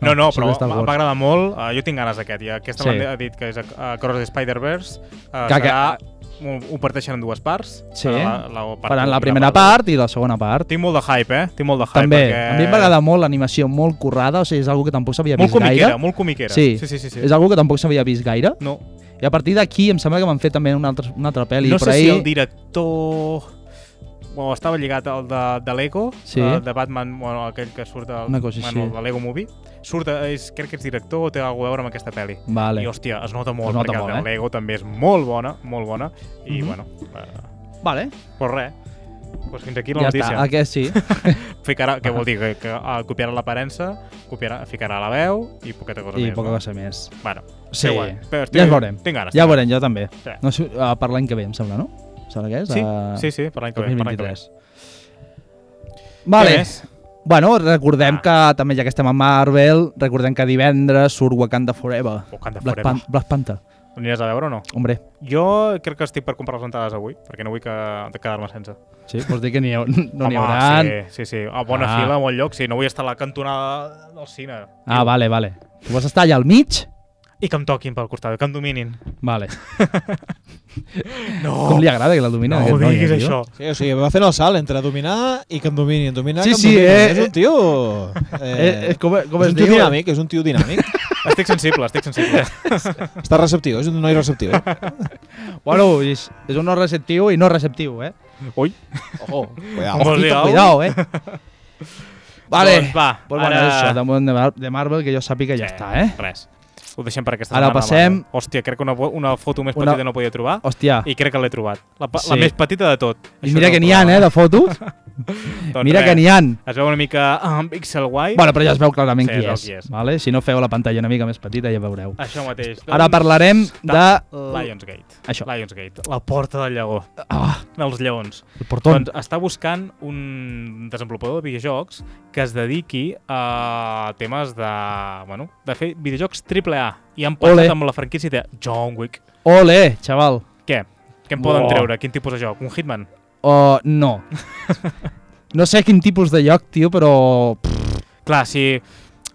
Speaker 3: No, no, però
Speaker 2: sobre Star
Speaker 3: m'ha
Speaker 2: Wars.
Speaker 3: agradat molt. Uh, jo tinc ganes d'aquest. I aquesta
Speaker 2: Sí.
Speaker 3: sí. m'han dit que és a, a Cross the Spider-Verse.
Speaker 2: Que-
Speaker 3: Uh, que,
Speaker 2: que-
Speaker 3: serà, ho, ho parteixen en dues parts.
Speaker 2: Sí.
Speaker 3: Serà La, la,
Speaker 2: Per la primera part i la segona part.
Speaker 3: Tinc molt de hype, eh? Tinc molt de hype.
Speaker 2: També,
Speaker 3: perquè...
Speaker 2: a mi em va agradar molt l'animació, molt currada, o sigui, és algo que tampoc s'havia vist
Speaker 3: Molt comiquera,
Speaker 2: gaire.
Speaker 3: molt comiquera.
Speaker 2: Sí.
Speaker 3: sí, sí. sí, sí.
Speaker 2: És algo que tampoc s'havia vist gaire.
Speaker 3: No,
Speaker 2: I a partir d'aquí em sembla que van fer també una altra, una altra pel·li.
Speaker 3: no sé
Speaker 2: però
Speaker 3: si
Speaker 2: ahir-
Speaker 3: el director... Bueno, estava lligat al de, de Lego,
Speaker 2: Sí.
Speaker 3: eh, de Batman, bueno, aquell que surt del,
Speaker 2: Una cosa
Speaker 3: bueno,
Speaker 2: així.
Speaker 3: de Lego Movie. Surt, a- és, crec que és director o té alguna cosa a veure amb aquesta pel·li.
Speaker 2: Vale.
Speaker 3: I, hòstia, es nota molt,
Speaker 2: Es nota
Speaker 3: perquè
Speaker 2: molt,
Speaker 3: la
Speaker 2: eh?
Speaker 3: Lego també és molt bona, molt bona, i,
Speaker 2: Mhm.
Speaker 3: bueno, eh,
Speaker 2: Vale,
Speaker 3: pues res. Pues fins aquí la
Speaker 2: ja
Speaker 3: notícia.
Speaker 2: està. Aquest sí.
Speaker 3: Ficarà, què vol dir? Que, que eh, copiarà l'aparença, copiarà, ficarà la veu i poqueta cosa
Speaker 2: I
Speaker 3: més.
Speaker 2: poca
Speaker 3: no?
Speaker 2: cosa més.
Speaker 3: Bueno,
Speaker 2: Sí,
Speaker 3: que guai. Però
Speaker 2: ja ho veurem.
Speaker 3: Tinc ganes.
Speaker 2: Ja ho veurem, jo també.
Speaker 3: Sí.
Speaker 2: No sé, eh, per l'any que ve, em sembla, no? Em Sembla que és?
Speaker 3: Sí,
Speaker 2: eh,
Speaker 3: sí, sí, per l'any que ve. Per l'any que ve.
Speaker 2: 2023. Vale.
Speaker 3: Què més? Ah.
Speaker 2: Bueno, recordem que també ja que estem a Marvel, recordem que divendres surt Wakanda Forever.
Speaker 3: Wakanda
Speaker 2: Black,
Speaker 3: Forever.
Speaker 2: Pan Black Panther.
Speaker 3: L'aniràs a veure o no?
Speaker 2: Hombre,
Speaker 3: Jo crec que estic per comprar les entrades avui, perquè no vull que... de quedar-me sense.
Speaker 2: sí, vols dir que n'hi ha, no n'hi
Speaker 3: Home,
Speaker 2: haurà...
Speaker 3: Sí, sí, sí. A bona
Speaker 2: Ah.
Speaker 3: fila, a bon lloc. Sí, no vull estar a la cantonada del cine.
Speaker 2: Ah, vale, vale. Tu vols estar allà al mig?
Speaker 3: I que em toquin pel costat, que em dominin.
Speaker 2: Vale.
Speaker 3: No,
Speaker 2: Com li agrada que la domina
Speaker 3: no ho
Speaker 2: aquest noi,
Speaker 3: diguis,
Speaker 2: eh, tio?
Speaker 3: això.
Speaker 4: Sí, o sigui, va fent el salt entre dominar i que em dominin, dominar
Speaker 2: Sí,
Speaker 4: que em
Speaker 2: sí,
Speaker 4: dominin.
Speaker 2: eh,
Speaker 4: és
Speaker 2: eh.
Speaker 4: un tio...
Speaker 2: Eh, eh, com, com
Speaker 4: és
Speaker 2: es
Speaker 4: un tio
Speaker 2: diu?
Speaker 4: dinàmic, és un tio dinàmic.
Speaker 3: Estic sensible, estic sensible.
Speaker 4: Està receptiu, és un noi receptiu. Eh?
Speaker 2: Bueno, és, és un no receptiu i no receptiu, eh?
Speaker 3: Ui.
Speaker 2: Ojo.
Speaker 4: Cuidao.
Speaker 3: Vols dir
Speaker 2: Ojito,
Speaker 3: alguna cosa?
Speaker 2: cuidao, eh? Vale.
Speaker 3: Doncs va,
Speaker 2: Però bueno,
Speaker 3: ara-
Speaker 2: és això, de moment de Mar- de Marvel, que jo sàpiga, ja està, eh?
Speaker 3: Res. Ho deixem per aquesta
Speaker 2: Ara
Speaker 3: setmana.
Speaker 2: passem-
Speaker 3: vale. Hòstia, crec que una, una foto més
Speaker 2: Una-
Speaker 3: petita no podia trobar.
Speaker 2: Hòstia,
Speaker 3: I crec que l'he trobat. La, pa-
Speaker 2: Sí.
Speaker 3: la més petita de tot.
Speaker 2: i mira que n'hi ha, eh, de fotos. Mira que n'hi ha.
Speaker 3: Doncs Es veu una mica um, pixel guai.
Speaker 2: Bueno, però ja es veu clarament
Speaker 3: Sí,
Speaker 2: qui
Speaker 3: es veu
Speaker 2: és.
Speaker 3: qui és.
Speaker 2: Vale? Si no feu la pantalla una mica més petita, ja veureu.
Speaker 3: Això mateix. doncs,
Speaker 2: Ara parlarem de- uh,
Speaker 3: Lionsgate.
Speaker 2: Això.
Speaker 3: Lionsgate. La porta del lleó.
Speaker 2: Ah,
Speaker 3: Dels lleons.
Speaker 2: el portón.
Speaker 3: Doncs està buscant un desenvolupador de videojocs que es dediqui a temes de... Bueno, de fer videojocs triple A. I han
Speaker 2: Ole.
Speaker 3: pensat amb la franquícia de John Wick.
Speaker 2: Ole, xaval.
Speaker 3: Què? Què en poden
Speaker 2: Buah.
Speaker 3: treure? Quin tipus de joc? Un Hitman?
Speaker 2: O no. No sé quin tipus de lloc, tio, però... Pff,
Speaker 3: Clar, si...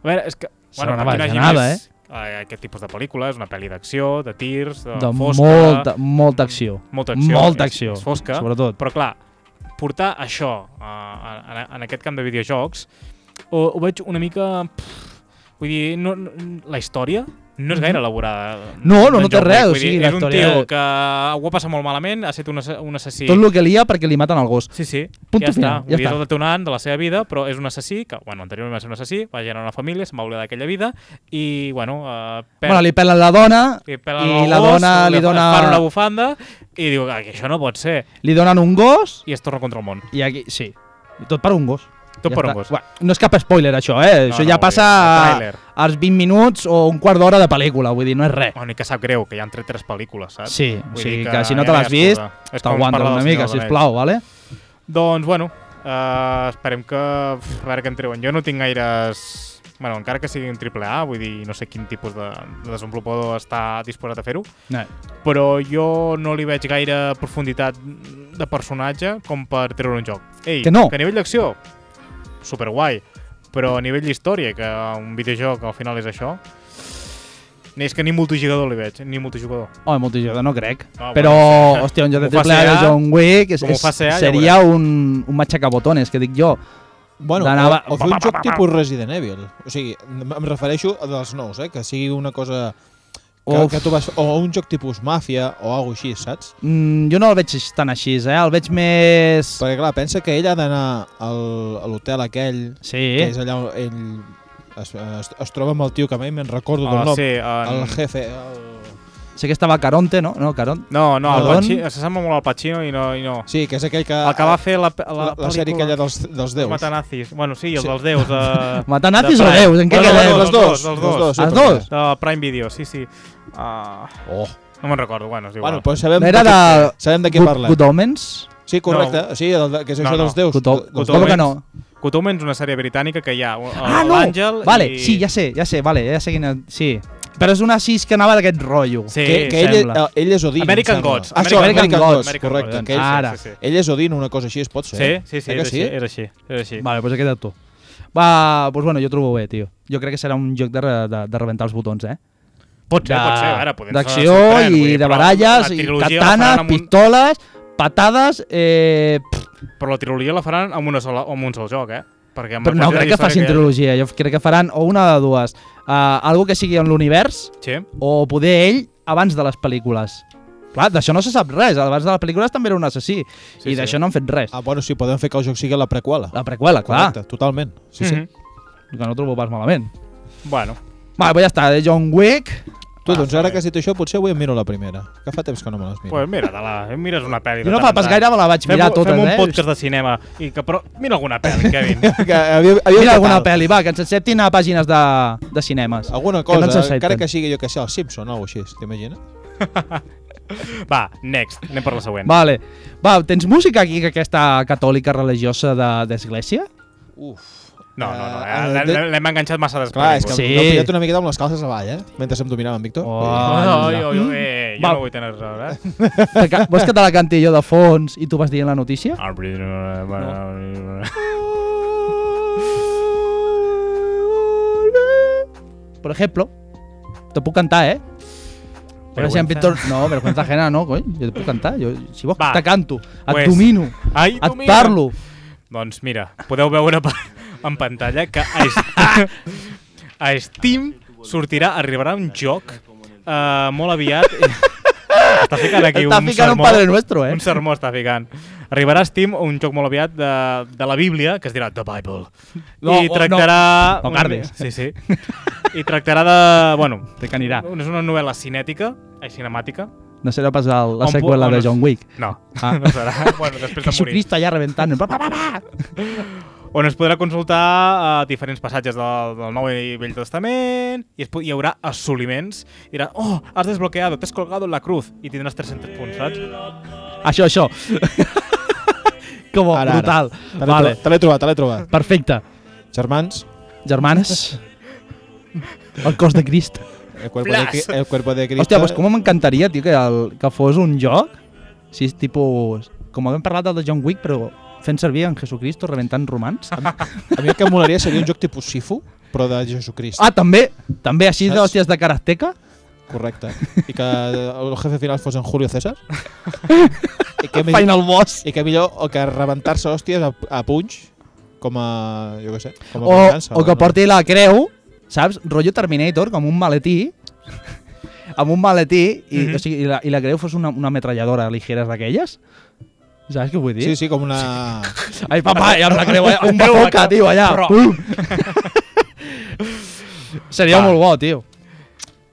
Speaker 3: A veure, és que...
Speaker 2: Serà una
Speaker 3: perquè no hi hagi
Speaker 2: bajanada,
Speaker 3: més, eh, aquest tipus de pel·lícula és una pel·li d'acció, de tirs, de,
Speaker 2: de
Speaker 3: fosca...
Speaker 2: molta, molta acció.
Speaker 3: Molta acció.
Speaker 2: Molta
Speaker 3: és-
Speaker 2: acció,
Speaker 3: És fosca.
Speaker 2: sobretot.
Speaker 3: Però clar, portar això eh, en, en aquest camp de videojocs ho, ho veig una mica... Pff, vull dir, no, no, la història no és gaire elaborada.
Speaker 2: Mhm. No, no,
Speaker 3: d'en
Speaker 2: no té
Speaker 3: John
Speaker 2: res,
Speaker 3: Wick,
Speaker 2: o
Speaker 3: vull
Speaker 2: sigui,
Speaker 3: dir,
Speaker 2: la
Speaker 3: és un
Speaker 2: història-
Speaker 3: tio que ho ha passat molt malament, ha estat un, assa- un assassí...
Speaker 2: Tot el que lia perquè li maten el gos.
Speaker 3: Sí, sí,
Speaker 2: Punto
Speaker 3: ja està.
Speaker 2: final, ja
Speaker 3: Vull dir, és
Speaker 2: està.
Speaker 3: el detonant de la seva vida, però és un assassí, que, bueno, anteriorment va ser un assassí, va generar una família, se'n va oblidar d'aquella vida, i, bueno, eh, per,
Speaker 2: Bueno, li pelen la dona,
Speaker 3: li pelen
Speaker 2: i
Speaker 3: el
Speaker 2: la
Speaker 3: gos,
Speaker 2: dona li
Speaker 3: fa-
Speaker 2: dona...
Speaker 3: fan una bufanda, i diu, "Ah, que això no pot ser,
Speaker 2: Li donen un gos
Speaker 3: i es torna contra el món.
Speaker 2: i aquí... Sí. I tot per un gos.
Speaker 3: Tot per un
Speaker 2: està.
Speaker 3: gos.
Speaker 2: Buah, no és cap spoiler, això, eh?
Speaker 3: No,
Speaker 2: això
Speaker 3: no,
Speaker 2: ja
Speaker 3: vull
Speaker 2: passa
Speaker 3: dir, el
Speaker 2: a,
Speaker 3: tràiler.
Speaker 2: als 20 minuts o un quart d'hora de pel·lícula, vull dir, no és res.
Speaker 3: Bueno, i que sap greu, que ja han tret tres pel·lícules, saps?
Speaker 2: Sí, o
Speaker 3: Vull
Speaker 2: sigui
Speaker 3: dir
Speaker 2: que,
Speaker 3: que
Speaker 2: si no
Speaker 3: ja
Speaker 2: te
Speaker 3: no hi ha
Speaker 2: l'has vist,
Speaker 3: excusa. És com
Speaker 2: t'aguantes
Speaker 3: parlar
Speaker 2: una
Speaker 3: del
Speaker 2: mica,
Speaker 3: Senyor dels
Speaker 2: sisplau, vale?
Speaker 3: Doncs, bueno, eh, esperem que... pf, A veure què en treuen. Jo no tinc gaires... Bueno, encara que sigui un triple A, vull dir, no sé quin tipus de, de desenvolupador està disposat a fer-ho,
Speaker 2: No.
Speaker 3: però jo no li veig gaire profunditat de personatge com per treure un joc. Ei,
Speaker 2: Que no.
Speaker 3: que a nivell d'acció, superguai, però a nivell d'història, que un videojoc al final és això, ni és que ni multijugador li veig, ni multijugador.
Speaker 2: Home, multijugador no crec.
Speaker 3: Ah,
Speaker 2: però,
Speaker 3: bueno.
Speaker 2: hòstia, un joc de
Speaker 3: Com ho fa
Speaker 2: triple A de
Speaker 3: CA,
Speaker 2: John Wick és,
Speaker 3: com ho
Speaker 2: és,
Speaker 3: fa CA, ja
Speaker 2: seria un, un machacabotones, que dic jo.
Speaker 4: Bueno,
Speaker 2: D'anava-
Speaker 4: o, o fer un joc tipus Resident Evil. O sigui, em refereixo a dels nous, eh? que sigui una cosa... Que,
Speaker 2: Uf.
Speaker 4: que tu vas, o un joc tipus màfia o alguna cosa així, saps?
Speaker 2: Mm, jo no el veig tan així, eh? El veig més...
Speaker 4: Perquè clar, pensa que ell ha d'anar al- a l'hotel aquell, que
Speaker 2: Sí,
Speaker 4: és allà on ell es, es, es troba amb el tio que mai me'n recordo del
Speaker 3: Ah,
Speaker 4: nom,
Speaker 3: sí, en-
Speaker 4: el jefe, el,
Speaker 2: Sé que estava Caronte, no? No, Caronte.
Speaker 3: No, no, el
Speaker 2: Perdón?
Speaker 3: Pacino, s'assembla molt al Pacino i no... I no.
Speaker 4: Sí, que és aquell que...
Speaker 3: El que va fer la, la,
Speaker 4: Ah, la, la sèrie
Speaker 3: pel·lícula-
Speaker 4: aquella dels, dels
Speaker 3: Els
Speaker 4: déus.
Speaker 3: Matanazis. Bueno, sí, els
Speaker 4: Sí.
Speaker 3: dels déus. Eh,
Speaker 2: Matar nazis o
Speaker 3: Prime.
Speaker 2: déus? En què
Speaker 3: No, no,
Speaker 2: quedem?
Speaker 3: no,
Speaker 4: Els dos,
Speaker 3: els
Speaker 4: els
Speaker 3: dos.
Speaker 4: dos.
Speaker 2: Els dos?
Speaker 3: De Prime Video, sí, sí. Uh,
Speaker 4: Oh.
Speaker 3: no me'n recordo, bueno, és igual.
Speaker 4: Bueno, però sabem,
Speaker 2: No era
Speaker 4: de,
Speaker 2: de...
Speaker 4: què- sabem de què
Speaker 2: Good-
Speaker 4: parla.
Speaker 2: Good Omens?
Speaker 4: Sí, correcte. Sí, el, de- que és
Speaker 3: No,
Speaker 4: això
Speaker 3: no.
Speaker 4: dels déus. Doncs,
Speaker 2: Good O-
Speaker 4: dels
Speaker 3: Good
Speaker 2: Com
Speaker 4: déus.
Speaker 2: que
Speaker 3: Omens.
Speaker 2: no?
Speaker 3: Kutomen és una sèrie britànica que hi ha uh,
Speaker 2: Ah, no!
Speaker 3: l'Àngel
Speaker 2: Vale,
Speaker 3: i...
Speaker 2: sí, ja sé, ja sé, vale, ja sé quina... Sí. Però és una sis que anava d'aquest rotllo.
Speaker 3: Sí,
Speaker 4: que, que ell,
Speaker 2: sembla.
Speaker 4: eh, ell és Odin. em
Speaker 3: American
Speaker 4: sembla.
Speaker 3: Gods.
Speaker 4: Ah, això,
Speaker 2: American
Speaker 4: American
Speaker 2: Gods,
Speaker 4: Gods,
Speaker 3: American
Speaker 4: correcte.
Speaker 3: Gods. ah,
Speaker 4: Que ell,
Speaker 2: Ara.
Speaker 3: Sí, sí, sí.
Speaker 4: ell és Odin, una cosa així es pot ser.
Speaker 3: Sí, sí, sí,
Speaker 4: Eh
Speaker 3: era,
Speaker 4: que
Speaker 3: així, era així, era així.
Speaker 2: Vale, doncs he quedat tu. Va, doncs bueno, jo trobo bé, tio. Jo crec que serà un joc de, re- de, de rebentar els botons, eh?
Speaker 3: Pot ser,
Speaker 2: de-
Speaker 3: pot ser, ara podem
Speaker 2: D'acció
Speaker 3: sorprendre, vull
Speaker 2: i
Speaker 3: dir,
Speaker 2: de
Speaker 3: però
Speaker 2: baralles
Speaker 3: la
Speaker 2: i
Speaker 3: trilogia la faran
Speaker 2: katanas,
Speaker 3: amb un-
Speaker 2: pistoles, patades... Eh, pff,
Speaker 3: Però la trilogia la faran amb, una sola, amb un sol joc, eh? Perquè amb
Speaker 2: però
Speaker 3: la
Speaker 2: no
Speaker 3: quantitat
Speaker 2: crec que
Speaker 3: d'història
Speaker 2: facin
Speaker 3: hi ha-
Speaker 2: trilogia, jo crec que faran o una de dues. Uh, algo que sigui en l'univers
Speaker 3: Sí.
Speaker 2: o poder ell abans de les pel·lícules. Clar, d'això no se sap res. Abans de les pel·lícules també era un assassí. I
Speaker 3: Sí, sí.
Speaker 2: d'això no han fet res.
Speaker 4: Ah, bueno, sí, podem fer que el joc sigui la prequela.
Speaker 2: La preqüela, clar.
Speaker 4: Correcte, totalment. Sí, sí.
Speaker 3: Mhm.
Speaker 2: Que no trobo pas malament.
Speaker 3: Bueno,
Speaker 2: Va, pues ja està. De John Wick.
Speaker 4: Tu,
Speaker 3: Ah,
Speaker 4: doncs ara que has dit això, potser avui em miro la primera. Que fa temps que no me les miro.
Speaker 3: pues mira, te la, mires una pel·li. de
Speaker 2: Jo no
Speaker 3: tant
Speaker 2: fa
Speaker 3: en
Speaker 2: pas
Speaker 3: tant.
Speaker 2: gaire, me la vaig
Speaker 3: Fem,
Speaker 2: mirar
Speaker 3: un-
Speaker 2: totes,
Speaker 3: fem un
Speaker 2: eh?
Speaker 3: podcast de cinema. I que, però, mira alguna pel·li, Kevin.
Speaker 4: que havia, havia
Speaker 2: Mira
Speaker 4: fet
Speaker 2: alguna
Speaker 4: alt.
Speaker 2: pel·li, va, que ens acceptin a pàgines de, de cinemes.
Speaker 4: Alguna
Speaker 2: Que no
Speaker 4: cosa,
Speaker 2: ens
Speaker 4: que
Speaker 2: accepten.
Speaker 4: encara que sigui, jo que sé, el Simpson o alguna cosa així, t'imagines?
Speaker 3: Va, next. Anem per la següent.
Speaker 2: Vale. Va, tens música aquí, que aquesta catòlica religiosa de- d'església? De,
Speaker 4: Uf.
Speaker 3: No, no, no.
Speaker 4: Eh,
Speaker 2: Ah,
Speaker 3: eh,
Speaker 4: eh,
Speaker 3: l'hem- L'hem enganxat massa després.
Speaker 4: Clar, és que
Speaker 2: Sí.
Speaker 4: sí. m'he pillat una miqueta amb les calces avall, eh? Mentre em dominava en Víctor.
Speaker 2: Oh.
Speaker 3: Oi, oi,
Speaker 2: Anda.
Speaker 3: oi, eh, jo
Speaker 2: Va.
Speaker 3: no vull tenir raó, eh?
Speaker 2: Vols que te la canti jo de fons i tu vas dient la notícia?
Speaker 3: Ah, eh, No.
Speaker 2: Por ejemplo. Te puc cantar, eh? Però si en pintor... No, vergüenza ajena no, cony. Jo te puc cantar. Jo, si vols,
Speaker 3: Va.
Speaker 2: te canto. Et
Speaker 3: Pues,
Speaker 2: domino.
Speaker 3: Ai,
Speaker 2: Et
Speaker 3: domina.
Speaker 2: parlo.
Speaker 3: Doncs mira, podeu veure pa- en pantalla que a, Steam, a Steam sortirà, arribarà un joc uh, molt aviat. està ficant aquí
Speaker 2: Està
Speaker 3: un
Speaker 2: ficant un
Speaker 3: sermó.
Speaker 2: padre nuestro, eh?
Speaker 3: Un sermó està ficant. Arribarà a Steam un joc molt aviat de, de la Bíblia, que es dirà The Bible.
Speaker 2: No,
Speaker 3: I
Speaker 2: oh,
Speaker 3: tractarà...
Speaker 2: no. No
Speaker 3: una
Speaker 2: cardis.
Speaker 3: mi- Sí, sí. I tractarà de... Bueno,
Speaker 2: Te canirà.
Speaker 3: és una novel·la cinètica, ai, cinemàtica.
Speaker 2: No serà pas el, la
Speaker 3: On pu-
Speaker 2: seqüela
Speaker 3: on
Speaker 2: de
Speaker 3: es-
Speaker 2: John Wick.
Speaker 3: No,
Speaker 2: Ah.
Speaker 3: no serà. Bueno, després de morir.
Speaker 2: Jesucristo allà reventant. Pa, pa, pa, pa.
Speaker 3: on es podrà consultar eh, diferents passatges del, del Nou i Vell Testament i es, po- hi haurà assoliments i dirà, oh, has desbloqueado, t'has colgado en la cruz i tindràs 300 punts, saps?
Speaker 2: Això, això. Com
Speaker 4: Ara, ara.
Speaker 2: brutal.
Speaker 4: Te l'he
Speaker 2: Vale,
Speaker 4: trobat, te l'he trobat, te l'he trobat.
Speaker 2: perfecte.
Speaker 4: Germans,
Speaker 2: Germanes, el cos de Crist.
Speaker 4: el cuerpo, de,
Speaker 3: Blas.
Speaker 4: Cri- el cuerpo de Cristo...
Speaker 2: Hòstia, doncs com m'encantaria, tio, que, el, que fos un joc, si és tipus... Com hem parlat del de John Wick, però fent servir en Jesucristo, reventant romans.
Speaker 4: A mi el que em molaria seria un joc tipus Sifu, però de Jesucrist.
Speaker 2: Ah, també! També així
Speaker 4: Saps?
Speaker 2: d'hòsties de Karateka.
Speaker 4: Correcte. I que el jefe final fos en Julio César. I que, mi-
Speaker 2: Final Boss.
Speaker 4: i que millor o que rebentar-se hòsties a, a punys com a, jo què sé, com a
Speaker 2: O,
Speaker 4: venjança,
Speaker 2: o que
Speaker 4: no?
Speaker 2: porti la creu, saps? Rollo Terminator, com un maletí. amb un maletí i,
Speaker 3: Mhm.
Speaker 2: o sigui, i, la, i la creu fos una, una metralladora ligeres d'aquelles. Saps què vull dir?
Speaker 4: Sí, sí, com una...
Speaker 2: Ai, papà, i amb la creu, eh? un
Speaker 3: Creu
Speaker 2: bazooka,
Speaker 3: vaca.
Speaker 2: tio, allà. Uh!
Speaker 3: Però-
Speaker 2: Pum. Seria
Speaker 3: Va.
Speaker 2: molt bo, tio.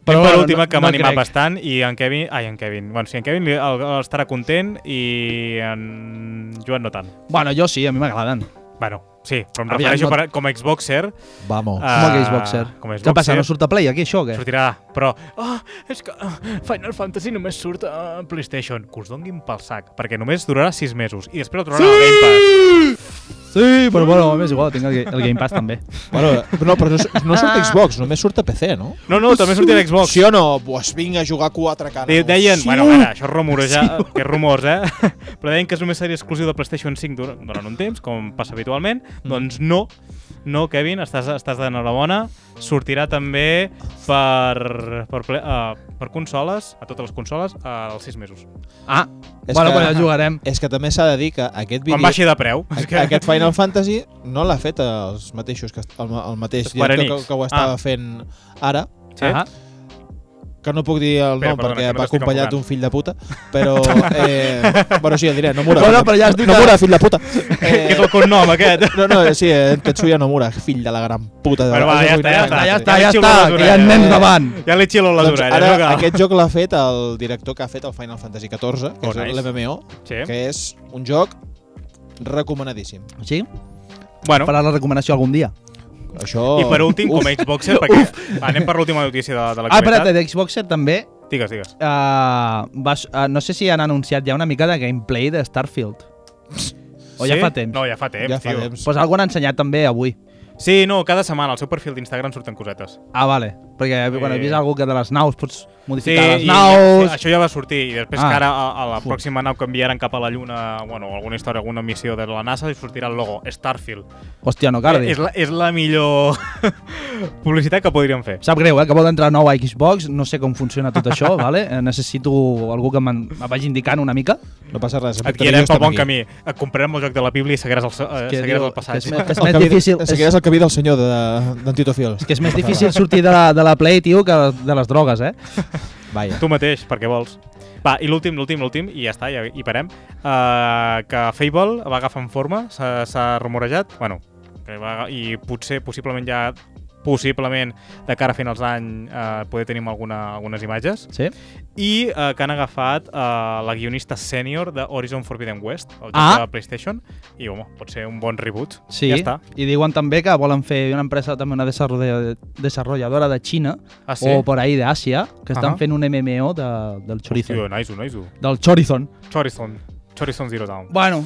Speaker 3: Però per
Speaker 2: bueno,
Speaker 3: última, que
Speaker 2: no
Speaker 3: m'ha animat
Speaker 2: crec.
Speaker 3: bastant i en Kevin... Ai, en Kevin. Bueno, sí, en Kevin li- el, el estarà content i en Joan no tant.
Speaker 2: Bueno, jo sí, a mi m'agraden.
Speaker 3: Bueno, sí, però em
Speaker 2: Aviam,
Speaker 3: refereixo
Speaker 2: no-
Speaker 3: per, com a Xboxer.
Speaker 4: Vamos.
Speaker 3: Ah,
Speaker 2: com a Xboxer.
Speaker 3: com a
Speaker 2: Què passa,
Speaker 3: Xboxer.
Speaker 2: no surt a Play aquí, això, o què?
Speaker 3: Sortirà, però... Oh, és que ah, Final Fantasy només surt a PlayStation. Que us donguin pel sac, perquè només durarà 6 mesos i després el trobaran sí! al Game Pass.
Speaker 2: Sí, però bueno, m'és igual, tinc el, Ga- el Game Pass també.
Speaker 4: Bueno, no, però no, s- no surt a Xbox, només surt a PC, no?
Speaker 3: No, no, també sortirà a Xbox.
Speaker 4: Sí o no? Pues vinga a jugar 4 canes.
Speaker 3: De, deien, sí. bueno, ara, això és rumorejar, que és rumors, eh? Però deien que és només sèrie exclusiva de PlayStation 5 dur- durant un temps, com passa habitualment.
Speaker 4: Mm.
Speaker 3: Doncs no, no, Kevin, estàs, estàs d'enhorabona. Sortirà també per, per, ple, uh, per consoles, a totes les consoles, uh, als 6 mesos.
Speaker 2: Ah,
Speaker 4: És
Speaker 2: bueno,
Speaker 4: que-
Speaker 2: pues ja jugarem.
Speaker 4: És que també s'ha de dir que aquest vídeo...
Speaker 3: Quan baixi de preu. És que...
Speaker 4: Aquest Final Fantasy no l'ha fet els mateixos que est- el, el mateix
Speaker 3: Square Ah.
Speaker 4: director que,
Speaker 3: Enix.
Speaker 4: que ho estava
Speaker 3: Ah.
Speaker 4: fent ara,
Speaker 3: Sí?
Speaker 2: Ahà.
Speaker 4: que no puc dir el nom
Speaker 3: Espera, perdona,
Speaker 4: perquè
Speaker 3: que no
Speaker 4: va
Speaker 3: t'estic
Speaker 4: acompanyat
Speaker 3: enfocant.
Speaker 4: d'un fill de puta, però... Eh, bueno, sí, el diré, Nomura.
Speaker 2: Bueno, però ja has dit
Speaker 4: Nomura, fill de puta.
Speaker 3: Eh... Que és el cognom, aquest.
Speaker 4: No, no, sí, eh, Tetsuya Nomura, fill de la gran puta.
Speaker 3: Bueno, va, ja està, Ah, ja
Speaker 2: Ja
Speaker 3: està.
Speaker 2: està,
Speaker 3: li
Speaker 2: ja
Speaker 3: xilo
Speaker 2: està, que
Speaker 3: les
Speaker 2: hi ha
Speaker 3: orelles.
Speaker 2: nens davant.
Speaker 3: Ja li xilo les
Speaker 4: Doncs
Speaker 3: orelles.
Speaker 4: ara,
Speaker 3: no cal.
Speaker 4: aquest joc l'ha fet el director que ha fet el Final Fantasy XIV, que és
Speaker 3: Oh, nice.
Speaker 4: l'MMO,
Speaker 3: Sí.
Speaker 4: que és un joc recomanadíssim.
Speaker 2: Sí?
Speaker 3: Bueno,
Speaker 2: Farà la recomanació algun dia. Ah,
Speaker 4: Això...
Speaker 3: i per últim, com a
Speaker 4: Uf, eh.
Speaker 3: Xboxer, perquè anem per l'última notícia de, de
Speaker 2: Ah, espera,
Speaker 3: l'actualitat.
Speaker 2: Xboxer també
Speaker 3: Ah, digues, digues.
Speaker 2: uh, va, uh, no sé si han anunciat ja una mica de gameplay de Starfield. O ja fa temps.
Speaker 3: No, ja fa temps,
Speaker 4: ja fa
Speaker 3: tio.
Speaker 4: temps.
Speaker 2: Pues algú han ensenyat també avui.
Speaker 3: Sí, no, cada setmana al seu perfil d'Instagram surten cosetes.
Speaker 2: Ah, vale. Perquè
Speaker 3: Sí.
Speaker 2: quan he vist algú que de les naus pots
Speaker 3: Eh. Sí,
Speaker 2: modificar les
Speaker 3: i,
Speaker 2: naus...
Speaker 3: això ja va sortir i després
Speaker 2: Ah.
Speaker 3: ah. que ara a, a la pròxima nau que enviaran cap a la Lluna, bueno, alguna història, alguna missió de la NASA i sortirà el logo, Starfield. Eh,
Speaker 2: Hòstia, no, Cardi.
Speaker 3: És la, és la millor publicitat que podríem fer.
Speaker 2: Sap greu, eh, que vol entrar nou a Xbox, no sé com funciona tot això, vale? Eh, necessito algú que me'n- me vagi indicant una mica.
Speaker 4: No passa res.
Speaker 3: Et guiarem pel bon camí. Et comprarem el joc de la Bíblia i seguiràs el, se- eh,
Speaker 2: que
Speaker 3: seguiràs
Speaker 2: diu-
Speaker 3: el
Speaker 2: que
Speaker 3: passatge.
Speaker 2: és més-
Speaker 4: És més difícil. Seguiràs el camí del senyor de- d'en Tito Fiol.
Speaker 2: És que és més difícil sortir de la, de la Play, tio, que de les drogues, eh?
Speaker 4: Vaja.
Speaker 3: Tu mateix, perquè vols. Va, i l'últim, l'últim, l'últim, i ja està, ja hi parem. Uh, que Fable va agafant forma, s'ha s'ha rumorejat, bueno, que va, aga- i potser, possiblement ja possiblement de cara a finals d'any eh, poder tenim alguna, algunes imatges
Speaker 2: Sí?
Speaker 3: i eh, que han agafat eh, la guionista sènior de Horizon Forbidden West el joc
Speaker 2: Ah.
Speaker 3: de PlayStation i home, pot ser un bon reboot
Speaker 2: Sí.
Speaker 3: ja està
Speaker 2: I diuen també que volen fer una empresa, també una desarrolla- desarrolladora de Xina,
Speaker 3: ah, sí?
Speaker 2: o por ahí d'Àsia, que estan
Speaker 3: Ahà.
Speaker 2: fent un MMO de, del Chorizo.
Speaker 3: Tio, nice, nice.
Speaker 2: Del Chorizon.
Speaker 3: Chorizon. Chorizon Zero Down.
Speaker 2: Bueno,